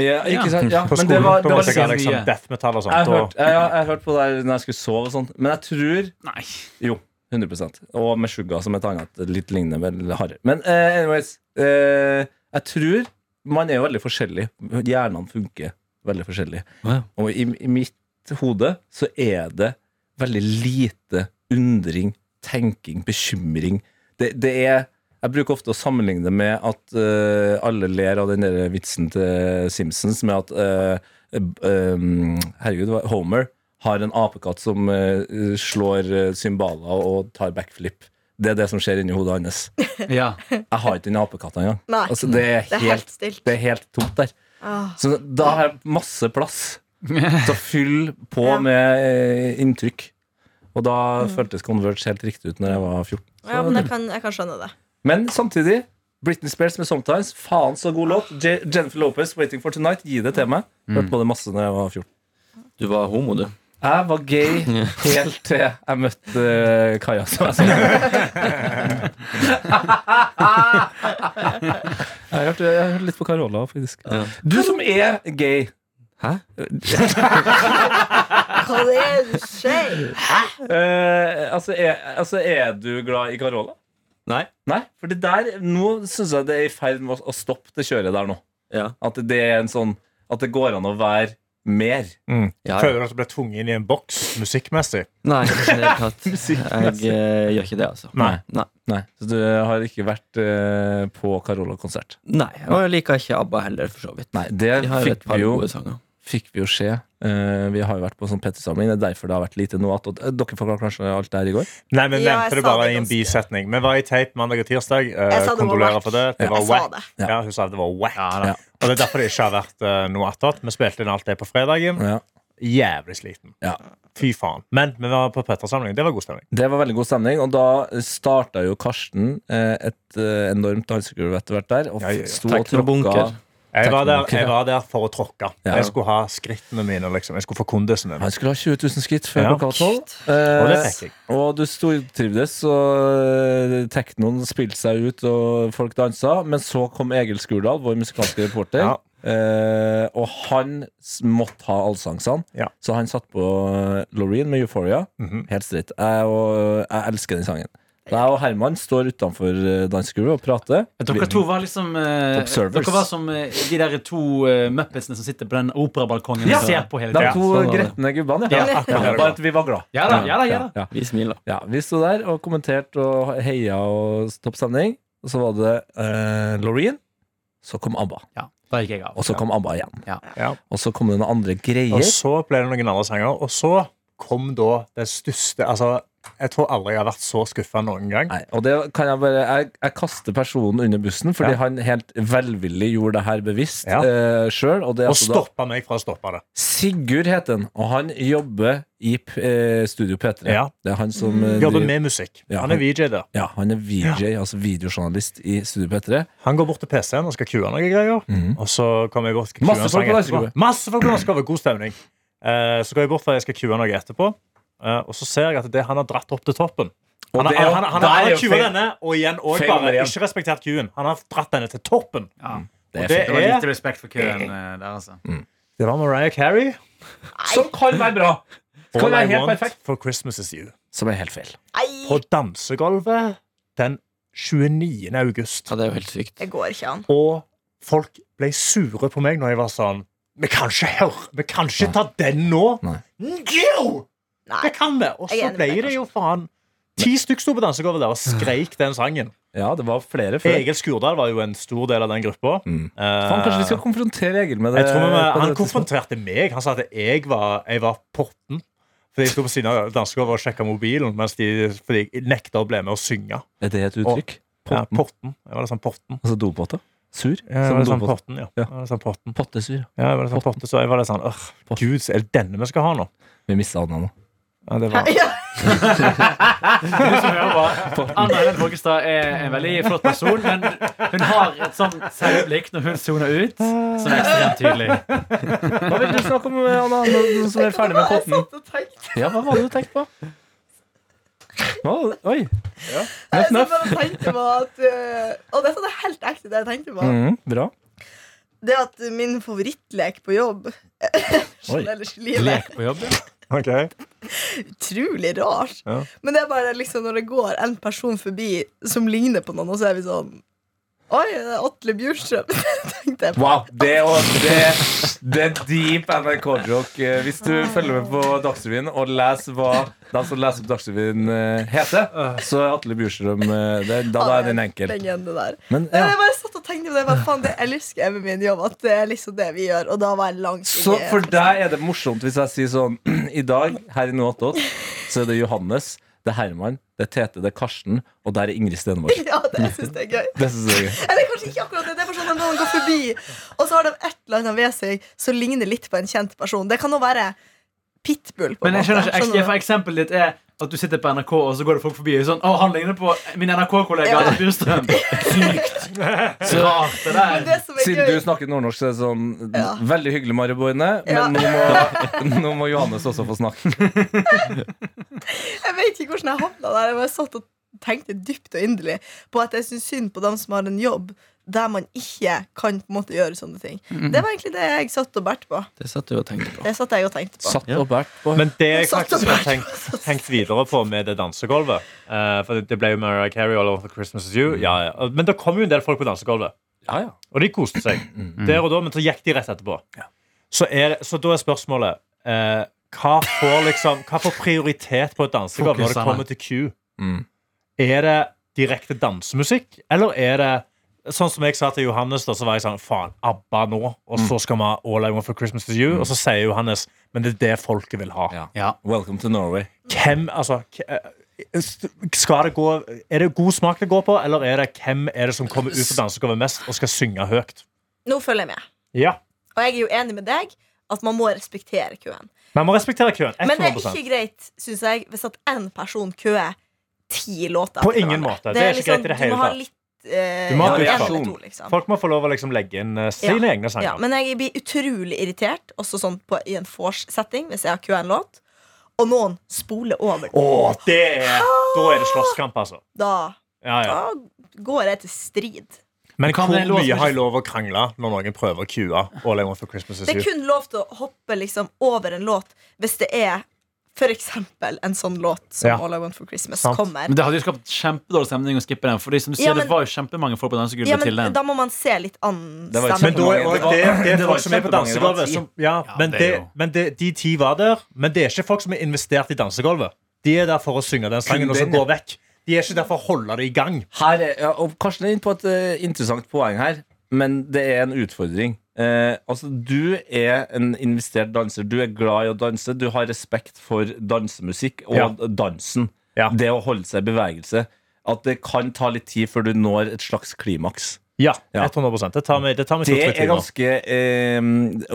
S2: Ja, ikke
S3: Ja.
S2: sant? Ja,
S6: På
S2: men
S6: skolen.
S2: det var,
S6: da
S2: det var
S6: måtte jeg ha
S2: liksom,
S3: litt-
S6: liksom death metal og sånt.
S2: jeg
S6: og-
S2: hørte jeg, jeg, jeg hørte på det her når jeg skulle sove og sånt, men jeg tror
S3: Nei.
S2: Jo, 100 Og med Suga som et annet litt lignende, vel hardere. Men eh, anyways, eh, jeg tror man er jo veldig forskjellig. Hjernene funker veldig forskjellig.
S5: Ja.
S2: Og i, i mitt hode så er det veldig lite undring, tenking, bekymring. Det, det er jeg bruker ofte å sammenligne det med at eh, alle ler av den der vitsen til Simpsons med at eh, eh, um, Herregud, hva- Homer har en apekatt som eh, slår eh, cymbaler og tar backflip. Det er det som skjer inni hodet hans.
S3: Ja.
S2: Jeg har ikke den apekatta engang.
S4: Nei,
S2: Altså, det, er
S4: det er
S2: helt,
S4: helt stilt.
S2: det er helt tomt der.
S4: Ah.
S2: Så da har jeg masse plass til å fylle på
S4: Ja. Mm.
S2: med eh, inntrykk. Og da føltes Converge helt riktig ut når jeg var 14.
S4: Ja, men jeg kan, jeg kan skjønne det.
S2: Men samtidig Britney Spears med 'Sometimes'. Faen så god låt. Je Jennifer Lopez 'Waiting for Tonight'. Gi det til meg. Hørte på det masse da jeg var 14.
S5: Mm. Du var homo, du.
S2: Jeg var gay helt til jeg møtte eh, Kaja. Som jeg sa. jeg hørte, jeg hørte litt på Carola, faktisk.
S5: Ja.
S2: Du som er gay. eh,
S5: Hæ?
S4: Hva er det du sier?
S2: eh, altså, er, altså, er du glad i Carola?
S5: Nei.
S2: Nei, for det der, nå syns jeg det er i ferd med å- å stoppe det kjøret der nå.
S5: Ja.
S2: At det er en sånn At det går an å være mer.
S5: Ja, ja.
S6: Føler du at du ble tvunget inn i en boks musikkmessig?
S5: Nei, ikke i det hele tatt. Jeg eh, gjør ikke det, altså.
S6: Nei.
S5: Nei.
S2: Nei, Så du har ikke vært eh, på Carola-konsert?
S5: Nei, Og jeg liker ikke ABBA heller, for så vidt.
S2: Nei, det
S5: De har jo
S2: fikk
S5: et par
S2: vi jo
S5: gode sanger.
S2: fikk vi jo se. Eh, vi har jo vært på sånn Petter-samling. Det er derfor det har vært lite noe at og, eh, Dere forklarte kanskje alt det her i går?
S6: Nei, men
S4: Ja, jeg
S6: nevnte det
S4: sa
S6: bare
S4: det
S6: i en
S4: ganske-
S6: bisetning. Vi var i tape mandag og tirsdag. Eh,
S4: Jeg sa det var
S6: Kondolerer
S4: whack.
S6: for det. Det
S4: Ja.
S6: var
S4: Jeg sa
S6: whack.
S4: det.
S6: Ja, hun sa det var whack.
S2: da. Ja.
S6: Og det er derfor det ikke har vært eh, noe attåt. Vi spilte inn alt det på fredagen.
S2: Ja.
S6: Jævlig sliten.
S2: Ja.
S6: Fy faen. Men vi var på Petter-samling. Det var god stemning.
S2: Det var veldig god stemning, og da starta jo Karsten eh, et eh, enormt dansegulv etter hvert der. Og
S6: Ja, ja, ja.
S2: sto og tråkka.
S5: Teknobunker.
S6: Jeg var, der,
S2: Tekniker.
S6: jeg var der for å tråkke.
S2: Ja.
S6: Jeg skulle ha skrittene mine. liksom Jeg skulle få kondisen min.
S2: Han skulle ha 20 000 skritt før
S6: Ja.
S2: klokka var tolv.
S6: Og det
S2: Eh,
S6: fikk jeg.
S2: og du stortrivdes, og eh, teknoen spilte seg ut, og folk dansa. Men så kom Egil Skurdal, vår musikalske reporter.
S6: Ja.
S2: Eh, og han s- måtte ha allsangsene,
S6: Ja.
S2: så han satt på eh, Loreen med 'Euphoria'.
S6: Mhm.
S2: Helt stritt. Jeg, og, jeg elsker den sangen. Jeg og Herman står utenfor eh, dansegulvet og prater.
S3: Dere to var liksom eh,
S2: Observers.
S3: Dere var som eh, de der to eh, muppetsene som sitter på den operabalkongen
S2: Ja.
S3: og ser på hele
S2: De
S3: tiden.
S2: to
S5: sånn var det.
S2: gretne gubbene, ja.
S3: Ja,
S2: ja.
S6: akkurat det.
S2: Bare at vi var glad.
S3: Ja da, ja da, ja da.
S2: Ja.
S5: Vi smiler.
S2: Ja, vi sto der og kommenterte og heia og topp stemning. Og så var det eh, Loreen. Så kom ABBA.
S3: Ja, da gikk jeg av.
S2: Og så kom ABBA igjen.
S3: Ja.
S6: Ja.
S2: Og så kom det noen andre
S6: Og
S2: greier.
S6: så ble det noen andre sanger. Og så kom da det største Altså, jeg tror aldri jeg har vært så skuffa noen gang.
S2: Nei, og det kan jeg bare Jeg, jeg kaster personen under bussen, fordi
S6: Ja.
S2: han helt velvillig gjorde det her bevisst
S6: Ja.
S2: eh, sjøl. Og det er
S6: Og
S2: altså da
S6: stoppa meg fra å stoppe det.
S2: Sigurd heter han, og han jobber i P- eh, Studio P3.
S6: Ja. Mm,
S2: Det er han som eh,
S6: Jobber
S2: driver-
S6: med musikk.
S2: Ja,
S6: Han er
S2: han-
S6: VJ der.
S2: Ja, han er VJ, altså videojournalist i Studio P3.
S6: Han går bort til PC-en og skal kue noen greier. Og så kommer jeg bort skal
S2: Mhm.
S6: kue
S2: Masse
S6: en
S2: folk
S6: sang
S2: på
S6: etterpå.
S2: dansegulvet.
S6: Masse folk på dansegulvet. God stemning. Eh, så går jeg bort for jeg skal kue noe etterpå. Eh, og så ser jeg at det han har dratt opp til toppen Han har,
S2: det er jo-
S6: han, han, han,
S2: det er
S6: har
S2: jo
S6: kua
S2: feil.
S6: denne, og igjen og
S2: Feil nummer
S6: bare
S2: igjen.
S6: ikke respektert kuen. Han har dratt denne til toppen.
S3: Ja.
S2: Det er
S6: Det
S2: fint.
S3: Det var
S6: er
S3: lite respekt for køen eh, der, altså.
S6: Det var Mariah Carey.
S2: Som kan være bra! Kan
S6: All
S2: være
S6: I
S2: helt
S6: want
S2: perfekt.
S6: for Christmas is you.
S2: Som er helt feil.
S4: Nei,
S6: På dansegulvet den 29. august.
S5: Ja, det er jo helt sykt.
S4: det går ikke an.
S6: Og folk ble sure på meg når jeg var sånn Vi kan ikke høre Vi kan ikke ta den nå!
S2: Nei.
S6: Jo!
S4: Nei.
S6: Det kan vi! Og
S4: Jeg er
S6: så
S4: enig med
S6: ble
S4: deg,
S6: det jo faen Ti stykk sto på dansegulvet der og skreik den sangen.
S2: Ja, det var flere før.
S6: Egil Skurdal var jo en stor del av den gruppa.
S2: Mm.
S6: Eh,
S2: Faen, kanskje vi skal konfrontere Egil med det?
S6: jeg tror vi,
S2: på
S6: han
S2: det tidspunktet.
S6: konfronterte meg. Han sa at jeg var, jeg var potten. Fordi jeg sto på siden av dansegulvet og sjekka mobilen mens de fordi jeg nekta å bli med og synge.
S2: Er det et uttrykk?
S6: Ja,
S2: Potten.
S6: potten. Jeg var litt sånn potten.
S2: Altså dopåte? Sur?
S6: Ja, jeg
S2: Som
S6: var litt sånn
S2: dopåte.
S6: potten, ja.
S2: Ja.
S6: Jeg var litt sånn potten.
S2: Pottesur.
S6: Ja, jeg var litt sånn potte, så jeg var litt sånn Åh, gud, så er det denne vi skal ha nå?
S2: Vi mista Anna nå.
S6: Ja, det var
S4: Ja.
S3: Anna Helen Borgestad er en veldig flott person, men hun har et sånt selvblikk når hun soner ut, som er ekstremt tydelig.
S2: Hva vil du snakke om, Anna, nå nå som er ferdig med
S4: Jeg
S2: potten?
S4: satt og tenkte
S2: Ja, hva var det du tenkte på? Hva var det? Oi.
S4: Jeg satt bare og tenkte på at eh, Og dette er helt ekte, det jeg tenkte på.
S2: Mhm, bra.
S4: Det at min favorittlek på jobb
S2: Oi.
S4: Ellers i livet
S3: Lek på jobb.
S6: Ok.
S4: utrolig rart.
S6: Ja.
S4: Men det er bare liksom når det går en person forbi som ligner på noen, og så er vi sånn Oi, det er Atle Bjurstrøm. tenkte jeg på.
S2: Wow, det, er også- det, det er deep NRK-joke. Eh, Hvis du følger med på Dagsrevyen og leser hva de som leser opp Dagsrevyen, eh, heter, så er Atle Bjurstrøm eh, det- Da da er den enkel.
S4: Legende der.
S2: Men,
S4: Nei,
S2: ja.
S4: Jeg bare satt og tenkte på det. Jeg bare, faen, det elsker jeg med min jobb. At det er liksom det vi gjør. Og da var jeg langt
S2: Så
S4: inne i-
S2: for deg er det morsomt hvis jeg sier sånn I dag, her i Noatot, så er det Johannes, det er Herman, det er Tete, det er Karsten, og der er Ingrid Stenvors.
S4: Ja, det jeg synes det er gøy.
S2: Det synes jeg er gøy.
S4: Eller kanskje ikke akkurat det. Det er bare sånn at noen går forbi, og så har de et eller annet ved seg som ligner litt på en kjent person. Det kan nå være Pitbull. på en
S3: Men jeg
S4: måte.
S3: skjønner ikke,
S4: Skjønner du?
S3: for Eksempelet ditt er At du sitter på NRK, og så går det folk forbi og sånn Å, han ligner på min NRK-kollega Anders Bjurstrøm. Sykt. Rart, det
S4: Men
S3: der.
S4: det som er
S2: Siden du
S4: gøy
S2: snakker nordnorsk, så er det sånn
S4: Ja.
S2: Veldig hyggelig, Mariboine, men
S4: Ja.
S2: nå, må, nå må Johannes også få snakke.
S4: Jeg vet ikke hvordan jeg havna der. Jeg bare satt og tenkte dypt og inderlig på at jeg syns synd på dem som har en jobb der man ikke kan på en måte gjøre sånne ting. Det var egentlig det jeg satt og bærte på.
S5: Det satt du og tenkte på.
S4: Det satt jeg og tenkte på.
S2: Satt og bært på.
S6: Men det jeg
S4: Satt og
S6: faktisk har
S4: bært.
S6: tenkt, tenkt videre på med det dansegulvet eh, For det, det ble jo Mariah Carey all over Christmas is you. Ja, ja. Men det kom jo en del folk på dansegulvet.
S2: Ja, Mm. ja.
S6: Og de koste seg der og da, men så gikk de rett etterpå. Så, er, så da er spørsmålet eh, hva, får liksom, hva får prioritet på et dansegulv når det
S3: Fokusene.
S6: kommer til Q?
S2: Mm.
S6: Er det direkte dansemusikk, eller er det Sånn som jeg sa til Johannes, da, så var jeg sånn Faen, ABBA nå, og
S2: Mm.
S6: så skal vi ha All I Want for Christmas Is You. Og så sier Johannes Men det er det folket vil ha.
S2: Ja.
S3: Ja.
S2: Welcome to Norway.
S6: Hvem, altså k- eh, st- skal det gå, Er det god smak det går på, eller er det hvem er det som kommer ut på dansegulvet mest og skal synge høyt?
S4: Nå følger jeg med.
S6: Ja
S4: Og jeg er jo enig med deg at man må respektere køen.
S6: Man må respektere køen. 100
S4: Men det er ikke greit, syns jeg, hvis at én person køer ti låter.
S6: På
S4: etter
S6: ingen
S4: hverandre.
S6: måte. Det er ikke
S4: liksom-
S6: greit i det hele
S4: Du må ha
S6: tatt.
S4: litt eh,
S6: Du må ha
S4: ja, en
S2: variasjon.
S4: eller to, liksom.
S6: Folk må få lov å liksom legge inn eh, sine egne sanger.
S4: Ja, men jeg blir utrolig irritert, også sånn på, i en vors-setting, hvis jeg har køa en låt, og noen spoler over. den.
S6: Å, det er,
S4: Ah!
S6: da er det slåsskamp, altså.
S4: Da,
S6: Ja, ja.
S4: da går jeg til strid.
S6: Men
S3: kan
S6: hvor
S3: det låse
S6: mye
S3: med-
S6: har jeg lov å krangle når noen prøver å cue All I Want for Christmas Is
S4: Det er
S6: You?
S4: kun lov til å hoppe liksom over en låt hvis det er f.eks. en sånn låt som
S6: Ja.
S4: All I Want for Christmas
S6: Sant.
S4: kommer.
S3: Men det hadde jo skapt kjempedårlig stemning å skippe den. For som du sier,
S4: Ja, men-
S3: det var jo kjempemange folk på dansegulvet
S4: Ja,
S3: til
S4: men
S3: den.
S4: da må man se litt an
S2: Det var ikke
S6: Men
S4: stemmen.
S6: da er også det, det er
S2: Det var
S6: folk som er på
S2: kjempemange, det var
S6: dansegulvet.
S2: ti.
S6: Som, ja,
S3: Ja,
S6: men
S3: det
S6: det,
S3: er jo-
S6: men det, de ti var der, men det er ikke folk som er investert i dansegulvet. De er der for å synge den sangen og så
S2: den,
S6: gå vekk. De er ikke der for å holde det i gang.
S2: Her er, ja, og Karsten er inne på et eh, interessant poeng her, men det er en utfordring. Eh, altså, Du er en investert danser. Du er glad i å danse. Du har respekt for dansemusikk og
S6: Ja.
S2: dansen.
S6: Ja.
S2: Det å holde seg i bevegelse. At det kan ta litt tid før du når et slags klimaks.
S6: Ja,
S2: Ja.
S6: 100 Det tar meg, det tar meg
S2: Det
S6: to-tre
S2: er
S6: timer.
S2: ganske eh,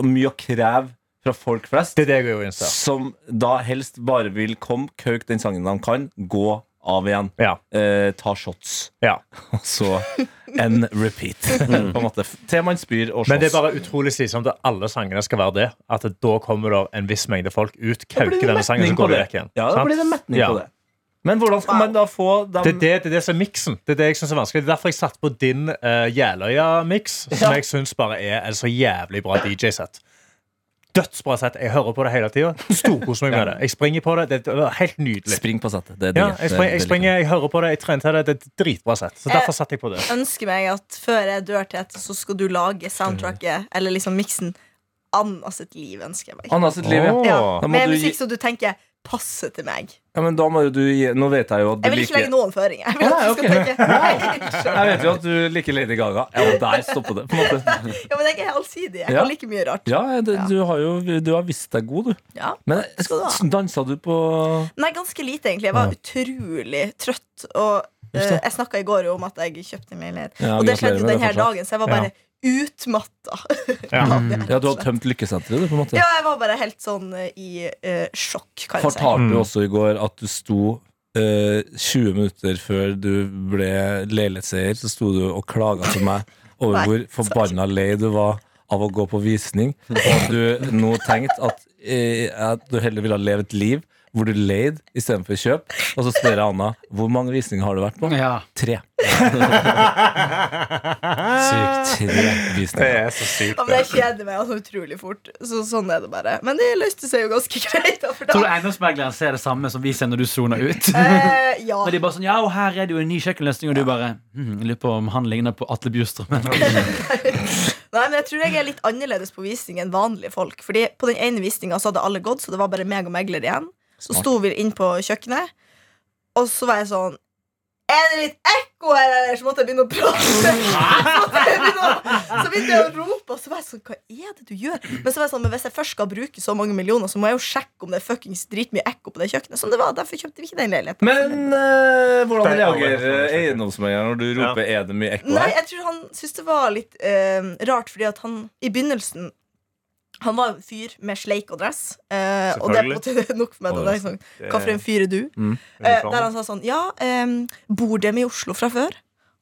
S2: mye å kreve fra folk flest,
S6: Det er det jeg òg innser.
S2: som da helst bare vil komme, kauke den sangen de kan, gå av igjen,
S6: Ja.
S2: eh, ta shots.
S6: ja.
S2: Og så en repeat, på en måte. Til man spyr og slåss.
S6: Men det er bare utrolig slitsomt at alle sangene skal være det. At det- da kommer det en viss mengde folk ut, kauker denne sangen, så går de vekk igjen.
S2: Ja, da
S6: Sant?
S2: blir det metning
S6: Ja.
S2: på det. Men hvordan skal man da få dem
S6: Det er det, det, er det som er miksen. Det er det jeg synes er vanskelig. Det er derfor jeg satte på din uh, Jeløya-miks, som jeg syns bare er en så jævlig bra DJ-sett. Dødsbra sett. Jeg hører på det hele tida. Storkoser meg med det. Jeg springer på det. Det er helt nydelig.
S2: Spring på settet. Det er
S6: Ja,
S2: digg.
S6: jeg
S2: Det er
S6: springer, jeg,
S2: veldig Eh.
S6: springer, jeg hører på det, jeg trener til det. Det er et dritbra sett. Så derfor satte jeg på det.
S4: ønsker meg at før jeg dør til et, så skal du lage soundtracket, eller liksom miksen, Anna sitt liv, ønsker jeg
S2: digg.
S4: meg.
S2: Anna sitt liv, ja.
S6: Åh.
S4: Ja,
S2: Da må
S4: med
S2: du gi-
S4: musikk som du tenker passer til meg.
S2: ja. Men da må jo du gi Nå vet jeg jo at du
S4: Jeg vil ikke
S2: liker
S4: legge noen føringer. Jeg vil at du skal tenke
S2: Jeg vet jo at du liker Lady Gaga. Ja, og der stopper det. på en måte
S4: Ja, men jeg er allsidig. Jeg
S2: Ja.
S4: kan like mye rart.
S2: Ja, det,
S4: Ja.
S2: du har jo Du har visst deg god, du.
S4: Ja.
S2: Men
S4: skal du ha.
S2: s- dansa du på
S4: Nei, ganske lite, egentlig. Jeg var utrolig trøtt. Og eh, jeg snakka i går jo om at jeg kjøpte en leilighet.
S2: Ja,
S4: Og det
S2: gratulerer med
S4: skjedde
S2: det
S4: den her
S2: fortsatt.
S4: dagen, så jeg var bare utmatta.
S2: Ja, du har tømt lykkesenteret, du, på en måte.
S4: Ja, jeg var bare helt sånn eh, i eh, sjokk, kan jeg si.
S2: fortalte du også i går at du sto eh, 20 minutter før du ble leilighetseier, så sto du og klaga til meg over
S4: Nei,
S2: hvor forbanna lei du var av å gå på visning, og at du nå tenkte at, eh, at du heller ville leve et liv hvor du leide istedenfor kjøp. Og så spør jeg Anna hvor mange visninger har du vært på.
S3: Ja.
S2: Tre. Sykt. Tre
S6: Det
S2: visninger.
S6: er så sykt.
S4: Ja, men jeg kjeder meg altså utrolig fort. Så sånn er det bare. Men det løste seg jo ganske greit. da, For
S3: Tror du
S4: da.
S3: eiendomsmegleren ser det samme som vi ser når du soner ut?
S4: Eh, ja.
S3: Og de er bare sånn, ja, og her er det jo en ny kjøkkenløsning Og du bare, hm, jeg lurer på om han ligner på Atle Bjurstrøm
S4: Nei, men jeg tror jeg er litt annerledes på visning enn vanlige folk. Fordi på den ene visninga så hadde alle gått, så det var bare meg og megler igjen. Så sto vi inn på kjøkkenet, og så var jeg sånn Er det litt ekko her, eller? Så måtte jeg begynne å prate. Så måtte jeg begynne å- Så begynte jeg å rope, og så var jeg sånn Hva er det du gjør? Men så var jeg sånn, men hvis jeg først skal bruke så mange millioner, så må jeg jo sjekke om det er fuckings dritmye ekko på det kjøkkenet. Som det var, Derfor kjøpte vi ikke den leiligheten.
S2: Men eh, hvordan
S6: Det er alle-
S2: reagerer eiendomsmegleren eh, når du roper 'er det mye ekko
S4: Nei,
S2: her'?
S4: ehm, jeg tror han syntes det var litt eh, rart, fordi at han i begynnelsen Han var en fyr med sleik og dress. eh, og det er på en måte nok for meg. Det, er sånn, Hva for en fyr er du? Eh, der han sa sånn Ja, em, bor dem i Oslo fra før?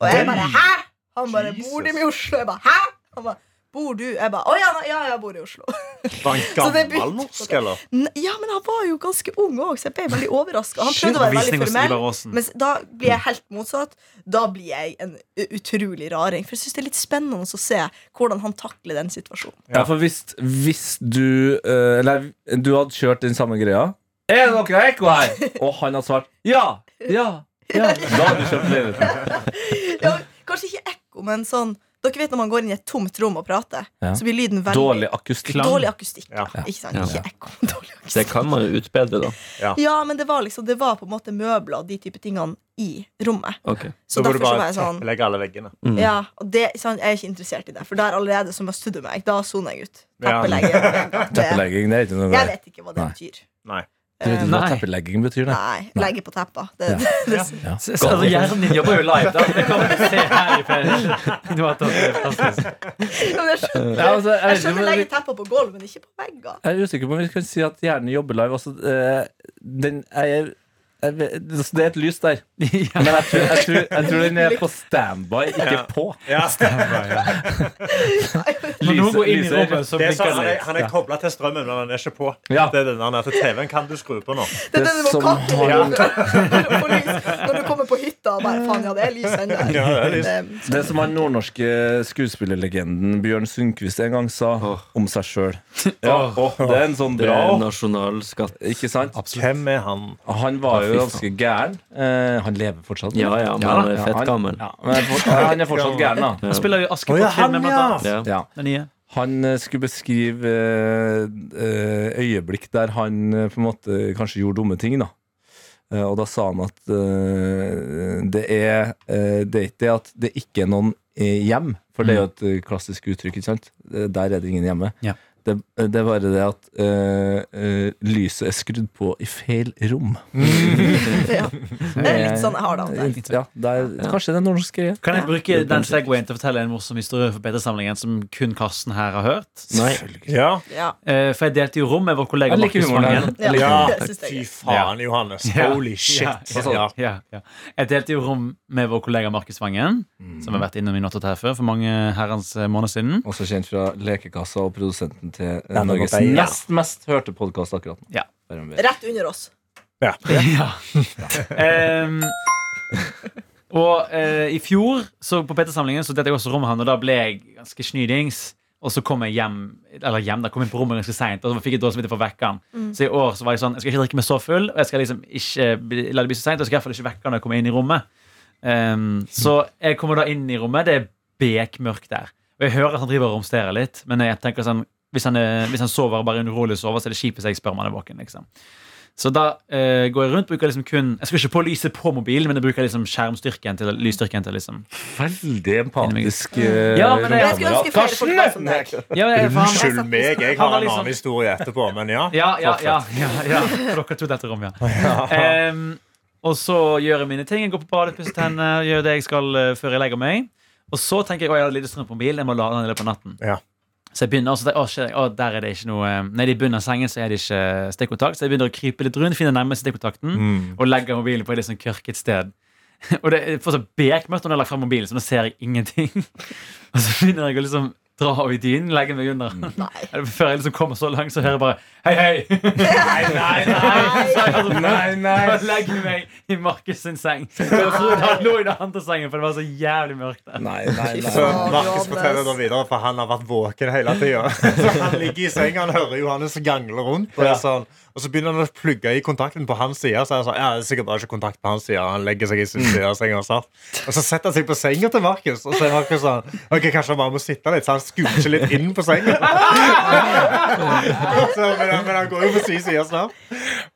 S4: Og jeg bare Hæ? Han bare Bor dem i Oslo? Jeg bare Hæ? Han bare Bor du? Jeg bare Å ja, nei, ja, jeg bor i Oslo.
S6: Var
S4: Så
S6: han
S4: det
S6: gammel
S4: begynte-
S6: norsk, eller?
S4: N- Ja, men han var jo ganske ung òg, så jeg ble veldig overraska. Han prøvde å være veldig
S3: Visning hos Ivar
S4: formell,
S3: Aasen.
S6: Mm.
S4: men da blir jeg helt motsatt. Da blir jeg en u- utrolig raring. For jeg syns det er litt spennende å se hvordan han takler den situasjonen.
S2: Ja, for hvis, hvis du eh, Eller du hadde kjørt den samme greia Er det noe ekko her? Og han hadde svart ja, ja, ja Da hadde du kjøpt leiligheten
S4: Ja, kanskje ikke ekko, men sånn Dere vet når man går inn i et tomt rom og prater,
S2: Ja.
S4: så blir lyden veldig
S2: Dårlig akustikk
S4: Dårlig akustikk.
S6: Ja.
S4: Ja. Ikke sant?
S5: Ja.
S4: Ikke ekko, men dårlig
S5: Det
S4: akustikk.
S5: kan man jo utbedre, da.
S4: Ja, men det var liksom Det var på en måte møbler og de type tingene i rommet.
S5: Ok.
S4: Så
S6: må
S4: derfor så var
S6: du bare
S4: jeg sånn
S6: tepplegge alle veggene.
S5: Mm.
S4: Ja, og det, sant, Jeg er ikke interessert i det, for der allerede så møste du meg. Da soner jeg ut.
S6: Ja.
S4: Teppelegging. Det-
S2: Teppelegging, det er ikke noe
S4: Jeg
S2: greier.
S4: vet ikke hva det
S2: Nei.
S4: betyr. Eh,
S6: Nei.
S2: Du vet ikke hva
S3: Nei.
S2: teppelegging betyr det
S4: Nei, legge på teppa. Det,
S2: Ja.
S4: det,
S3: Så- så- Altså, hjernen din jobber jo live, da. Det kan vi se her i ferien. Det var fantastisk.
S4: Men jeg skjønner,
S2: Ja, altså, jeg
S4: jeg
S2: vet ikke,
S4: skjønner
S2: men-
S4: legge teppa på gulvet, men ikke på vegger.
S2: Jeg er usikker på om vi kan si at hjernen jobber live. Altså, eh, den er, jeg vet- altså, det er et lys der.
S3: Ja.
S2: Men jeg tror, jeg, tror, jeg tror den er på standby, ikke på.
S6: Ja, stemmer, ja.
S3: Når noen går inn i
S2: lyser-
S3: rommet, så
S6: Det er sånn,
S3: blinker
S6: han,
S3: det
S6: er, han er kobla til strømmen, men han er ikke på.
S2: Ja.
S6: Det er den han er til TV-en. Kan du skru på nå?
S4: Det er den du må
S2: som
S4: katte
S2: har-
S4: når du kommer på hytta og bare Faen, ja, det er lys ennå.
S6: Ja, det
S2: Det som han nordnorske skuespillerlegenden Bjørn Sundquist en gang sa
S5: Åh.
S2: om seg sjøl. Ja, åh, det er en sånn
S5: Det er
S2: bra
S5: nasjonalskatt.
S2: Ikke sant?
S6: Hvem er han?
S2: Han var jo
S5: Fy faen.
S2: ganske gæren. Eh, han lever fortsatt.
S5: Ja, ja, men han er fett gammel.
S2: Ja, men for- han er fortsatt gæren, da.
S3: Han spiller jo
S6: Å, ja, han,
S3: Askepott-filmen, blant
S6: ja.
S3: annet.
S5: Ja.
S2: Ja.
S3: Den nye.
S2: Han eh, skulle beskrive eh, eh, øyeblikk der han eh, på en måte kanskje gjorde dumme ting, da. Eh, Og da sa han at eh, det er eh, Det er ikke det at det ikke er noen eh, hjem, for det er jo et eh, klassisk uttrykk, ikke sant? Eh, Der er det ingen hjemme.
S3: Ja.
S2: Det, det er bare det at eh, eh, lyset er skrudd på i feil rom.
S4: Ja. Det er litt sånn jeg har det av det.
S2: Ja, det er, kanskje det er norsk greie.
S3: Kan jeg bruke
S5: det er
S3: den segwayen til å fortelle en morsom historie for Petersamlingen som kun Karsten her har hørt?
S5: Nei.
S6: Ja.
S4: Ja.
S3: Eh, For jeg delte jo rom med vår kollega
S2: Jeg liker
S3: Markus
S2: humoren her.
S3: Vangen.
S4: Ja,
S6: Ja,
S4: det synes
S6: fy
S4: jeg.
S6: faen, Johannes.
S3: Ja.
S6: Holy shit.
S3: Ja,
S6: Ja.
S3: Ja, ja. Jeg delte jo rom med vår kollega Markus Vangen, som har vært innom i Nåttet her før for mange herrens eh, måneder siden.
S2: Også kjent fra Lekekassa og produsenten til eh,
S6: Ja, det
S2: Norges
S6: måtte jeg-
S2: nest mest hørte podkast akkurat nå.
S3: Ja.
S2: Bare om vi-
S4: er gøy. Rett under oss.
S3: Ja. Em, Ehm, og eh, i fjor så på Petersamlingen så delte jeg også rom med han, og da ble jeg ganske snydings. Og så kom jeg hjem Eller hjem, da kom jeg på rommet ganske seint og så fikk jeg dårlig samvittighet for å vekke han. Så i år så var jeg sånn Jeg skal ikke drikke meg så full, og jeg skal liksom ikke bli- la det bli så seint, og jeg skal i hvert fall ikke vekke han når jeg kommer inn i rommet. Em, så jeg kommer da inn i rommet, det er bekmørkt der. Og jeg hører at han driver og romsterer litt, men jeg tenker sånn hvis han, er, hvis han sover bare en urolig sover, så er det kjipt hvis jeg spør om han er våken. liksom så da eh, går jeg rundt bruker liksom kun Jeg skal ikke på lyset på mobilen, men jeg bruker liksom skjermstyrken til lysstyrken til liksom
S2: veldig empatisk eh,
S3: Ja, men det-
S4: Jeg skulle ønske flere folk var som deg.
S3: Ja, ja, for han,
S6: Unnskyld meg, jeg
S3: Han
S6: har
S3: var
S6: en
S3: liksom-
S6: annen historie etterpå, men ja.
S3: ja, ja, ja, ja, ja. For dere tok dette rommet, ja. Em, og så gjør jeg mine ting. Jeg går på badet, pusser tennene, gjør det jeg skal eh, før jeg legger meg. Og så tenker jeg å, jeg har lite strøm på mobilen, jeg må lade den i løpet av natten.
S6: Ja.
S3: Så jeg begynner, og så tenker jeg, å, shit, å, der er det ikke noe eh, Nede i bunnen av sengen så er det ikke eh, stikkontakt, så jeg begynner å krype litt rundt, finner nærmeste stikkontakten.
S6: Mm.
S3: og legger mobilen på et litt sånn kørket sted. Og det er fortsatt bekmørkt når jeg har lagt frem mobilen, så nå ser jeg ingenting. Og så begynner jeg å liksom dra av i dynen, legge meg under.
S6: Mm.
S4: Nei.
S3: Før jeg liksom kommer så langt, så hører jeg bare Hei, hei!
S6: Nei, nei,
S3: Så jeg altså,
S6: nei, nei.
S3: bare legger meg i Markus sin seng. Og Jeg trodde han lå i den andre sengen, for det var så jævlig mørkt der.
S2: Nei, nei,
S4: Fy
S6: Så
S2: nei.
S4: faen.
S6: Markus forteller da videre, for han har vært våken hele tida. Så Han ligger i senga, han hører Johannes gangle rundt. Og, er sånn, og så begynner han å plugge i kontakten på hans side. Så er han sånn, ja, det er sikkert bare ikke kontakt på hans side Han legger seg i sin side av senga og sånn. Og så setter han seg på senga til Markus, og så er Markus sånn Ok, kanskje han bare må sitte litt, så han skuer seg litt inn på senga. Og så, men, han- men han går jo på sin side snart.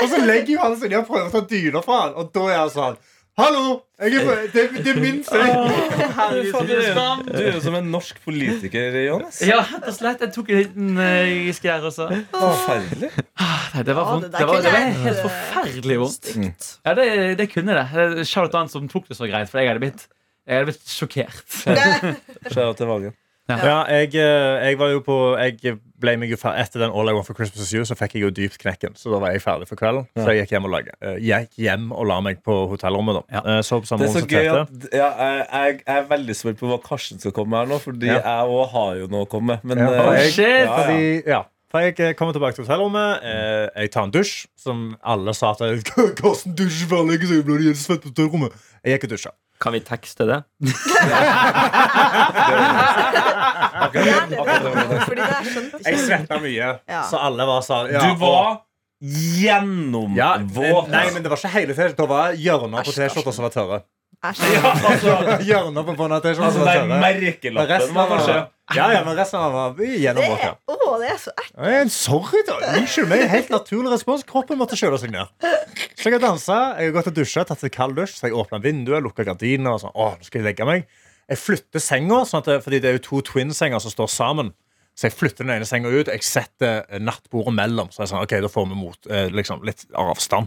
S6: Og så legger Johannes seg ned og prøver å ta dyna fra han, og da er han sånn Hallo! Jeg er på, det, det er min seng!
S2: Du er jo som en norsk politiker, Johannes.
S3: Ja, rett og slett. Jeg tok en liten eh, skjær også.
S2: Forferdelig.
S3: Nei, det var
S4: Ja,
S3: vondt.
S4: det der
S3: Det var, det var
S4: kunne jeg-
S3: helt forferdelig vondt. Mm.
S4: Stygt.
S3: Ja, det, det kunne det. Shout out til han som tok det så greit, for jeg hadde blitt, jeg hadde blitt sjokkert.
S2: Skjær av til Vagen.
S6: Ja, jeg, eh, jeg var jo på jeg ble meg jo fer- Etter den All I Want for Christmas Is You Så fikk jeg jo dypt knekken. Så da var jeg ferdig for kvelden. Så jeg gikk hjem og, lagde, eh, gikk hjem og la meg på hotellrommet. da
S3: Ja.
S6: Eh, Så på samme
S2: Det er
S6: rom
S2: så
S6: som
S2: gøy
S6: Tete.
S2: at ja, jeg, jeg, jeg er veldig spent på hva Karsten skal komme med her nå, fordi
S6: Ja.
S2: jeg òg har jo noe å komme med. Men
S6: Ja,
S2: eh,
S6: jeg-
S3: Shit!
S2: ja, ja.
S6: Fordi, ja. For jeg eh, kommer tilbake til hotellrommet, eh, jeg tar en dusj, som alle sa til Karsten dusjer for alle er ikke så jævla jævla svett på hotellrommet. Jeg gikk og dusja.
S5: Kan vi tekste det?
S4: Gjerne det. Fordi det her skjønte
S6: Jeg
S4: ikke jeg.
S6: svetta mye,
S4: Ja.
S6: så alle var sånn ja,
S2: Du
S6: og-
S2: var gjennomvåt.
S6: ja, eh, Nei, men det var ikke hele T-skjorta. Det var hjørner på T-skjorta som var tørre.
S4: Æsj.
S6: Hjørner på båndet av T-skjorta som var
S2: den
S6: tørre. Men
S2: merkelappen
S6: resten
S2: var
S6: av
S2: kanskje
S6: Ja, ja, men resten av var
S4: Det
S6: gjennomvåt.
S4: er,
S6: ja.
S4: å, det er så ekkelt.
S6: Eh, Sorry, da. Unnskyld meg. Helt naturlig respons. Kroppen måtte kjøle seg ned. Så jeg har dansa, jeg har gått og dusja, tatt en kald dusj, så jeg åpna vinduet, lukka gardiner og sånn. Åh, nå skal jeg legge meg. Jeg flytter senga, sånn at, det- fordi det er jo to twin-senger som står sammen. Så jeg flytter den ene senga ut, og jeg setter eh, nattbordet mellom. Så jeg er sånn, ok, da får vi mot, eh, liksom, litt avstand.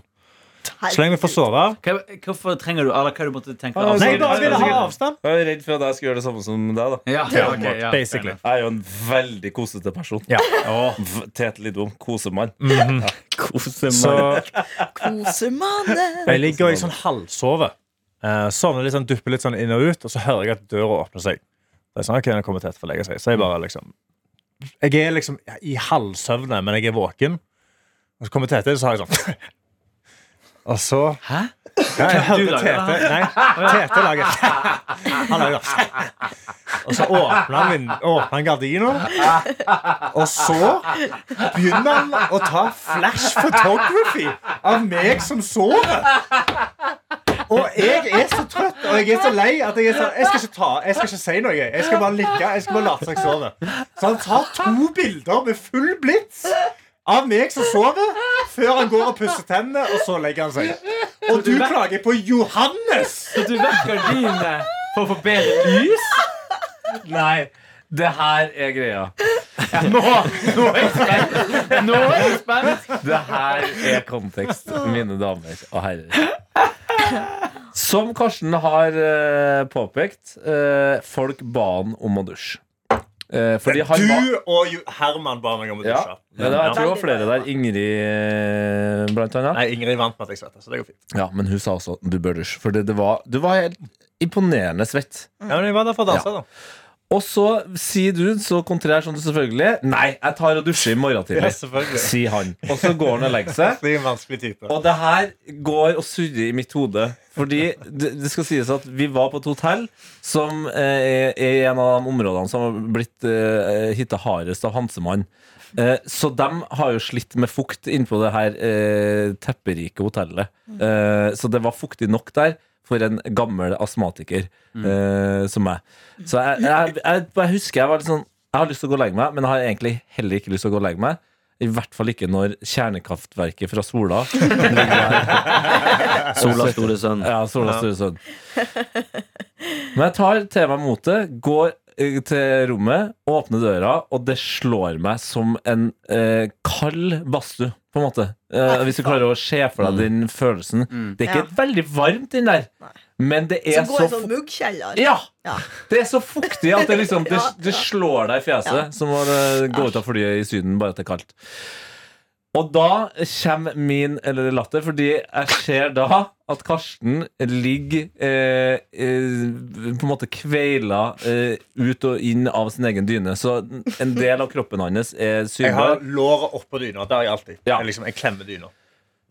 S6: Så lenge vi får sove.
S3: Hva, hvorfor trenger du Eller hva du måtte tenke
S2: Ah, Nei,
S6: Nei, jeg
S3: altså,
S6: bare ville ha avstand.
S2: Jeg er redd for at jeg skal gjøre det samme som deg. da
S3: Ja,
S6: Ja,
S3: ok, ja,
S6: basically.
S2: Jeg er jo en veldig kosete person.
S6: Ja. Mhm.
S2: V- Tete Lidbom, kosemann.
S6: Så
S4: Kosemannen.
S6: Jeg ligger og jeg sånn halvsover. Eh, sovner litt sånn, dupper litt sånn inn og ut, og så hører jeg at døra åpner seg. Det er sånn, ok, nå kommer Tete for å legge seg. Så jeg bare liksom Jeg er liksom i halvsøvne, men jeg er våken. Og så kommer Tete, og så har jeg sånn Og så
S3: Hæ?
S6: ja, jeg
S3: Du
S6: hørte
S3: lager
S6: Tete Nei, Tete lager Han lager Og så åpner han, vind- åpner han gardiner Og så begynner han å ta flash photography Av meg som sover Og jeg er så trøtt Og jeg er så lei at jeg er sånn Jeg skal ikke ta, jeg skal ikke si noe Jeg skal bare ligge, jeg skal bare late seg sove Så han tar to bilder med full blitz Av meg som sover Før han går og pusser tennene Og så legger han seg Og du klager på Johannes
S3: Så du vekker dine for å få bedre lys?
S2: Nei, det her er greia.
S3: Nå, nå er jeg spent! Nå er jeg spent.
S2: Det her er kontekst, mine damer og herrer. Som Karsten har eh, påpekt, eh, folk ba han om å dusje. Eh, fordi han ba
S6: Du og Jo- Herman ba meg om å
S2: ja,
S6: dusje.
S2: men det var, jeg tror det var
S4: Veldig
S2: flere
S4: bra.
S2: der. Ingrid, eh, blant annet.
S6: Nei, Ingrid vant med at jeg svetta, så det går fint.
S2: Ja, men hun sa også du bør dusje. For det, det var, du var helt imponerende svett.
S6: Ja, men jeg var der for å danse, da.
S2: Og så sier du, så kontrær som du selvfølgelig, nei, jeg tar og dusjer i morgen tidlig.
S6: selvfølgelig.
S2: Sier han. Og så går han og legger seg.
S6: Det er en vanskelig type.
S2: Og det her går og surrer i mitt hode. Fordi det, det skal sies at vi var på et hotell som eh, er er en av de områdene som har blitt eh, hitta hardest av Hansemann. Eh, så de har jo slitt med fukt innpå det her eh, tepperike hotellet. Eh, så det var fuktig nok der for en gammel astmatiker eh, som meg. Så jeg, jeg, jeg, jeg husker jeg var litt sånn Jeg har lyst til å gå og legge meg, men jeg har egentlig heller ikke lyst til å gå og legge meg. I hvert fall ikke når kjernekraftverket fra Sola
S5: Sola store sønn.
S2: Ja, Sola Sturesund. Men jeg tar til meg motet, går eh, til rommet, åpner døra, og det slår meg som en eh, kald badstue, på en måte. Eh, hvis du klarer å se for deg den følelsen. Det er ikke veldig varmt, den der, men det
S4: Så
S2: er
S4: går
S2: så,
S4: en sånn
S2: fu-
S4: muggkjeller.
S2: ja!
S4: Ja.
S2: Det er så fuktig at det liksom Det,
S4: Ja,
S2: det
S4: ja.
S2: slår deg i fjeset
S4: Ja.
S2: som å eh, gå ut av flyet i Syden bare at det er kaldt. Og da kommer min eller latter, fordi jeg ser da at Karsten ligger eh, eh, på en måte kveila eh, ut og inn av sin egen dyne. Så en del av kroppen hans er
S6: Jeg
S2: synbar.
S6: har låret oppå dyna. Det har jeg alltid.
S2: Ja.
S6: Jeg, liksom, jeg klemmer dyna.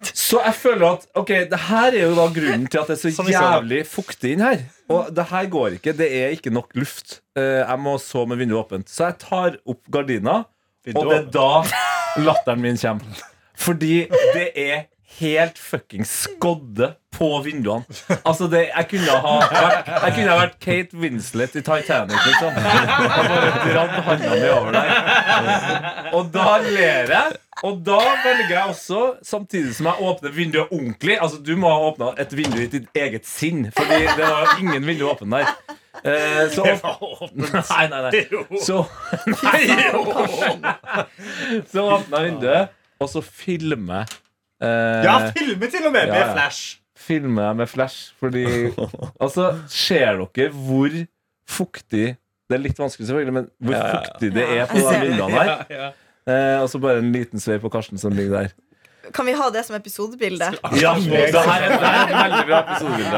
S2: Så jeg føler at Ok, det her er jo da grunnen til at det er så
S6: Som vi sa.
S2: jævlig fuktig inn her. Og det her går ikke. Det er ikke nok luft. Eh, Jeg må så med vinduet åpent. Så jeg tar opp gardina, og det er
S6: åpent.
S2: da latteren min kommer. Fordi det er helt fuckings skodde på vinduene. Altså, det, jeg kunne ha vært, jeg kunne ha vært Kate Winslet i Titanic, liksom. Og bare dratt handa mi over der. Og da ler jeg. Og da velger jeg også, samtidig som jeg åpner vinduet ordentlig Altså, du må ha åpna et vindu i ditt eget sinn, Fordi det var ingen vindu åpent der. Eh, så Nei, nei, nei. Så Så åpna jeg vinduet, og så filmer jeg. eh,
S6: Ja, filme til og med!
S2: Ja, ja.
S6: Med flash.
S2: filmer jeg med flash, fordi Altså, ser dere hvor fuktig Det er litt vanskelig, selvfølgelig, men hvor
S5: Ja, ja, ja.
S2: fuktig det er på
S4: Jeg
S2: de
S4: ser det.
S2: bildene her. Eh, og så bare en liten svei på Karsten som ligger der.
S4: Kan vi ha det som episodebilde?
S2: Ja,
S3: Det her er det her er et veldig bra episodebilde.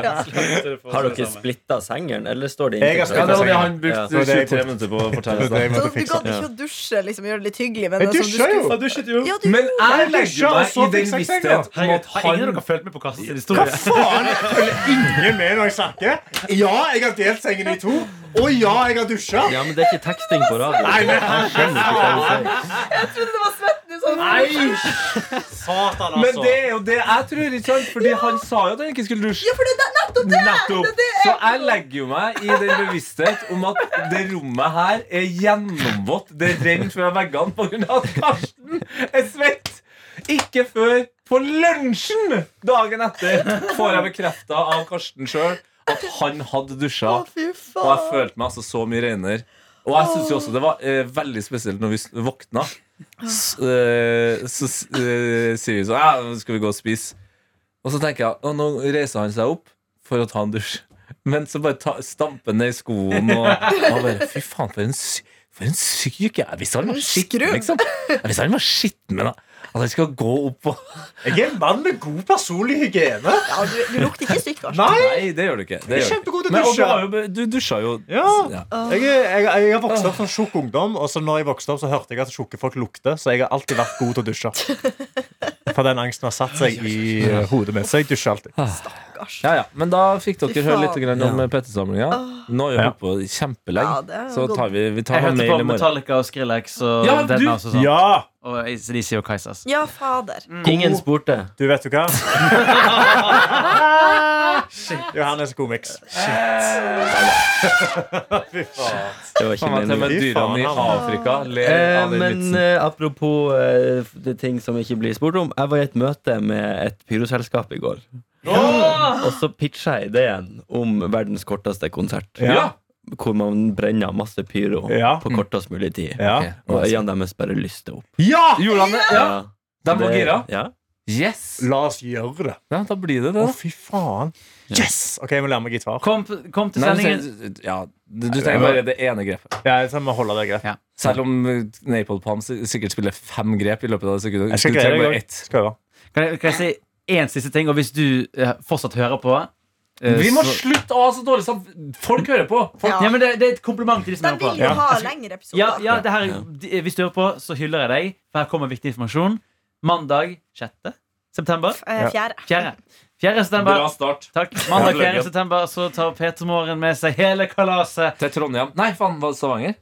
S4: Ja.
S5: Har dere splitta sengeren, eller står det
S6: Jeg har
S2: det
S5: inntil
S2: var det
S6: splittet sengen.
S2: han
S5: Ja,
S2: brukte
S6: det var det jeg
S2: 23 minutter på å fortelle.
S6: Det var
S2: oss, da.
S4: Så
S6: det jeg måtte
S4: du
S6: fikse.
S4: gadd ikke å dusje liksom, og gjøre det litt hyggelig? Men
S6: Jeg
S4: som du
S6: dusjer jo!
S4: skulle-
S3: Du skjøt jo.
S4: Ja, du
S2: Men
S4: gjorde
S2: jeg
S4: det.
S2: legger
S6: legger meg
S2: meg i den
S6: i den
S2: visstheten
S6: vissheten
S3: Herregud,
S2: om at
S3: Har ingen av
S2: han
S3: dere fulgt med på Karstens
S6: Hva
S3: historie?
S6: faen? Jeg følger ingen med når jeg snakker. Ja, jeg har delt sengen i to. Og ja, jeg har dusja.
S5: Ja, men det er ikke teksting på radio.
S6: Nei, men-
S5: Jeg skjønner ikke hva du sier.
S4: Jeg trodde det var svett nå, sånn.
S6: Satan, altså.
S2: Men det er jo det jeg tror, ikke sant? Fordi han sa jo at han ikke skulle dusje.
S4: Ja, for det er nettopp det!
S2: Nettopp.
S4: Det er
S2: Så jeg legger jo meg i den bevissthet om at det rommet her er gjennomvått. Det renner fra veggene pga. at Karsten er svett. Ikke før på lunsjen dagen etter får jeg bekrefta av Karsten sjøl at han hadde dusja.
S4: Å, fy
S2: Og jeg
S4: faen.
S2: følte meg altså så mye renere. Og jeg synes jo også det var eh, veldig spesielt når vi s- våkna. S- eh, så s- eh, sier vi sånn Ja, nå skal vi gå og spise? Og så tenker jeg Og nå reiser han seg opp for å ta en dusj. Men så bare ta, stamper han ned i skoen og, og bare Fy faen, for en, sy for en syk jeg er. Hvis han var skitten,
S4: Skrubb.
S2: liksom. Hvis han var skitten, men at han skal gå opp og
S6: Jeg er en mann med god personlig hygiene.
S4: Ja, du, du lukter ikke altså. stygt, Karsten.
S6: Nei,
S2: Nei, det gjør du ikke. Det
S6: jeg er
S2: gjør du ikke.
S6: kjempegod til
S2: Men,
S6: å
S2: og du, har
S6: dusje.
S2: jo, be- du dusja jo
S6: Ja.
S2: ja.
S6: Jeg, er- jeg, jeg har vokst opp som tjukk ungdom, og så når jeg vokste opp, så hørte jeg at tjukke folk lukter, så jeg har alltid vært god til å dusje. For den angsten har satt seg i eh, hodet mitt, så jeg dusjer alltid.
S4: Stakkars.
S2: Ja, ja. Men da fikk dere
S4: Fy
S2: høre
S4: faen.
S2: litt grann om
S5: Ja.
S2: PT-samlinga. Nå har vi
S6: Ja.
S2: holdt på kjempelenge,
S4: Ja, det er jo
S2: så
S4: godt.
S2: tar vi, vi
S3: Jeg
S2: tar en
S3: hørte på
S2: mail i morgen.
S3: Metallica og Skrillex og
S2: Ja,
S3: Dead
S2: du-
S3: Mouse og sånn.
S6: Ja!
S3: Og ACDC og Kaisers.
S4: Ja, fader.
S5: Ingen spurte.
S6: Du vet jo hva? Johannes god miks. Fy faen.
S5: Det var
S2: Faen,
S5: ikke
S2: til og
S5: meningen.
S2: med
S6: Fy faen,
S2: dyrene i
S6: han.
S2: Afrika ler
S5: Eh,
S2: av den
S5: men
S2: vitsen.
S5: eh, apropos eh, f- det ting som ikke blir spurt om. Jeg var i et møte med et pyroselskap i går. Og så pitcha jeg ideen om verdens korteste konsert.
S6: Ja.
S5: Hvor man brenner masse pyro
S6: Ja.
S5: på kortest mulig tid.
S6: Ja!
S5: Og øynene deres bare lyster opp.
S6: ja.
S2: Gjorde han det? Ja. De var
S5: Det-
S2: gira?
S5: Ja.
S2: Yes!
S6: La oss gjøre det.
S2: Ja, da blir det
S6: Å,
S2: det.
S6: fy faen. Yes! OK, jeg må lære meg gitar.
S3: Kom, kom til
S2: Nei, men
S3: sendingen.
S2: sen- ja, du, du trenger bare det ene grepet.
S6: Ja, jeg må holde det greit.
S2: Selv om eh, Napalm Palm si- sikkert spiller fem grep i løpet av det sekundet.
S6: Jeg skal
S2: du
S6: greie det
S2: trenger
S6: i
S2: bare
S6: dag.
S2: ett.
S6: Skal jeg gjøre.
S3: Kan jeg, kan jeg si én siste ting? Og hvis du eh, fortsatt hører på eh,
S2: Vi må
S3: så-
S2: slutte å ha så dårlig sammen... Folk hører på!
S4: Ja.
S3: ja, men det, det er et kompliment til de som
S4: De
S3: hører på.
S4: vil jo
S6: Ja.
S4: ha lengre episoder.
S3: Ja, ja, det her, de- eh, Hvis du hører på, så hyller jeg deg. For her kommer viktig informasjon. Mandag 6. september.
S4: F- eh, Fjerde.
S3: 4. 4. september.
S2: Bra start.
S3: Takk. Mandag 4. september så tar Peter Måren med seg hele kalaset.
S2: Til Trondheim. Nei, faen, var det Stavanger?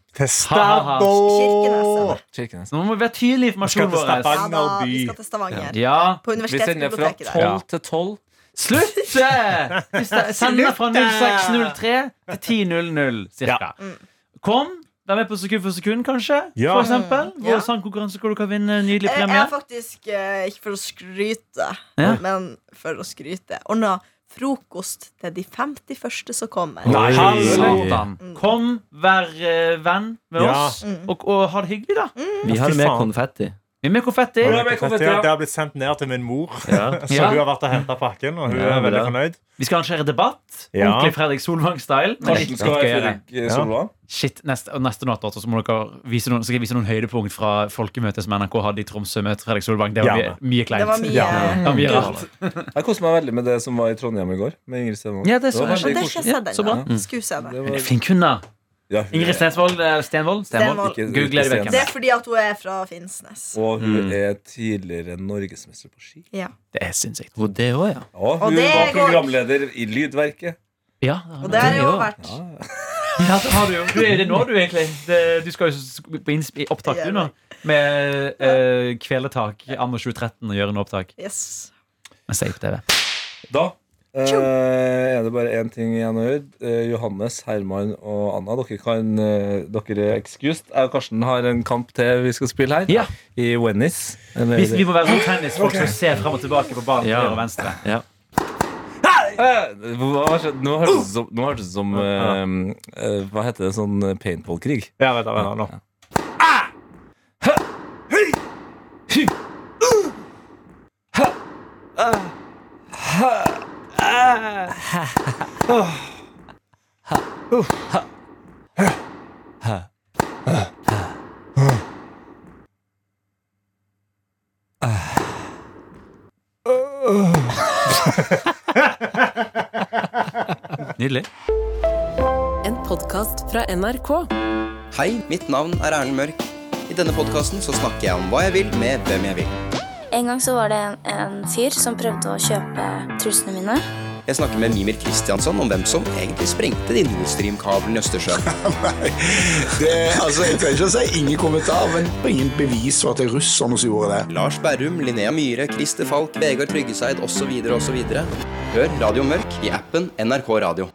S6: Testado!
S4: Kirkeneset.
S2: Kirkenes.
S3: Så nå må vi være tydelige i
S6: Skal
S3: informasjonen
S6: til
S3: vår.
S4: Ja, da,
S6: Stavanger by.
S4: vi skal til Stavanger.
S3: Ja.
S4: På
S2: Vi sender fra
S4: universitetsbiblioteket der. Eh,
S2: 12 til 12.
S3: Slutt! Vi sta- sender fra 06.03 til 10.00
S6: eh. Ja.
S3: cirka. Kom. Vær med på Sekund for sekund, kanskje.
S6: Ja.
S3: For eksempel.
S4: Mm,
S3: Vår
S4: ja.
S3: sangkonkurranse hvor du kan vinne en nydelig
S4: Eh, Jeg
S3: premie.
S4: har faktisk, eh, ikke for å skryte,
S3: Ja.
S4: men for å skryte, ordna frokost til de 50 første som kommer.
S6: Nei.
S3: Satan.
S4: Mm.
S3: Kom, vær eh, venn med
S6: Ja.
S3: oss, og, og ha det hyggelig,
S4: Mm.
S3: da.
S5: Vi har
S6: Fy
S5: med
S6: faen.
S5: konfetti.
S3: Vi er med konfetti.
S2: Ja, men jeg kommer til å-
S6: Det har blitt sendt ned til min mor,
S5: Ja.
S6: så
S3: Ja.
S6: hun har vært og henta pakken, og hun
S5: Ja,
S6: er veldig
S5: bra.
S6: fornøyd.
S3: Vi skal arrangere debatt.
S6: Ja.
S3: Ordentlig Fredrik Solvang-style. Men det er
S2: Karsten skal
S3: ikke
S2: være
S3: gøyere.
S2: Fredrik Solvang.
S3: Shit, neste, og neste natt altså, så må dere vise noen, skal jeg vise noen høydepunkt fra folkemøtet som NRK hadde i Tromsø med Fredrik Solvang. Det var mye,
S6: Gjerne.
S3: mye kleint.
S4: Det var mye
S6: Ja.
S4: eh,
S3: Ja, mye rart.
S2: Jeg koste meg veldig med det som var i Trondheim i går. Med Ingrid Stenvold.
S3: Ja, det så jeg.
S4: Og det har ikke jeg
S3: Ja,
S4: sett
S3: så bra.
S4: ennå. Skulle se det.
S2: Det
S3: Men
S2: var-
S3: det er Finn kunna.
S2: Ja, hun
S3: Ingrid
S2: er-
S3: Stensvold. eh, Stenvold? Stenvold.
S4: Stenvold.
S2: Ikke-
S3: Google det
S2: ikke
S3: vekk.
S2: Sten.
S4: Det er fordi at hun er fra Finnsnes.
S2: Og hun
S3: Mm.
S2: er tidligere norgesmester på ski.
S4: Ja.
S3: Det er sinnssykt.
S5: Og det òg, ja.
S2: Og hun
S4: det
S2: var
S4: går-
S2: programleder i Lydverket.
S3: Ja,
S4: Og det har
S5: det
S4: jeg jo
S5: også.
S4: vært.
S3: ja, det har du jo. Du er det nå, du, egentlig. Det, du skal jo s- på inns- i opptak, du, nå. Med eh, Kveletak anno 2013 og gjøre en opptak.
S4: Yes.
S3: Men se på TV.
S2: Da eh, er det bare én ting igjen å gjøre. Eh, Johannes, Herman og Anna, dere, kan, eh, dere er excused. Jeg og Karsten har en kamp til vi skal spille her.
S3: Ja.
S2: I Wennis. Eller-
S3: Vi, vi må være sånn tennisfolk som ser frem og tilbake på banen til
S5: Ja.
S3: høyre og venstre.
S2: Eh, hva skjedde? Nå hørtes det som, nå hørtes det som eh, eh, Hva heter det? Sånn paintballkrig?
S6: Ja, vent, da, vent, da, nå.
S8: Nydelig.
S9: En podkast fra NRK.
S5: Hei, mitt navn er Erlend Mørk. I denne podkasten så snakker jeg om hva jeg vil, med hvem jeg vil.
S7: En gang så var det en, en fyr som prøvde å kjøpe trusene mine.
S5: Jeg snakker med Mimir Kristiansson om hvem som egentlig sprengte de Nord Stream-kablene i Østersjøen.
S10: altså, jeg trenger ikke å si ingen kommentar, men ingen bevis for at det er russerne som gjorde det.
S5: Lars Berrum, Linnea Myhre, Christer Falk, Vegard Tryggeseid osv. osv. Hør Radio Mørk i appen NRK Radio.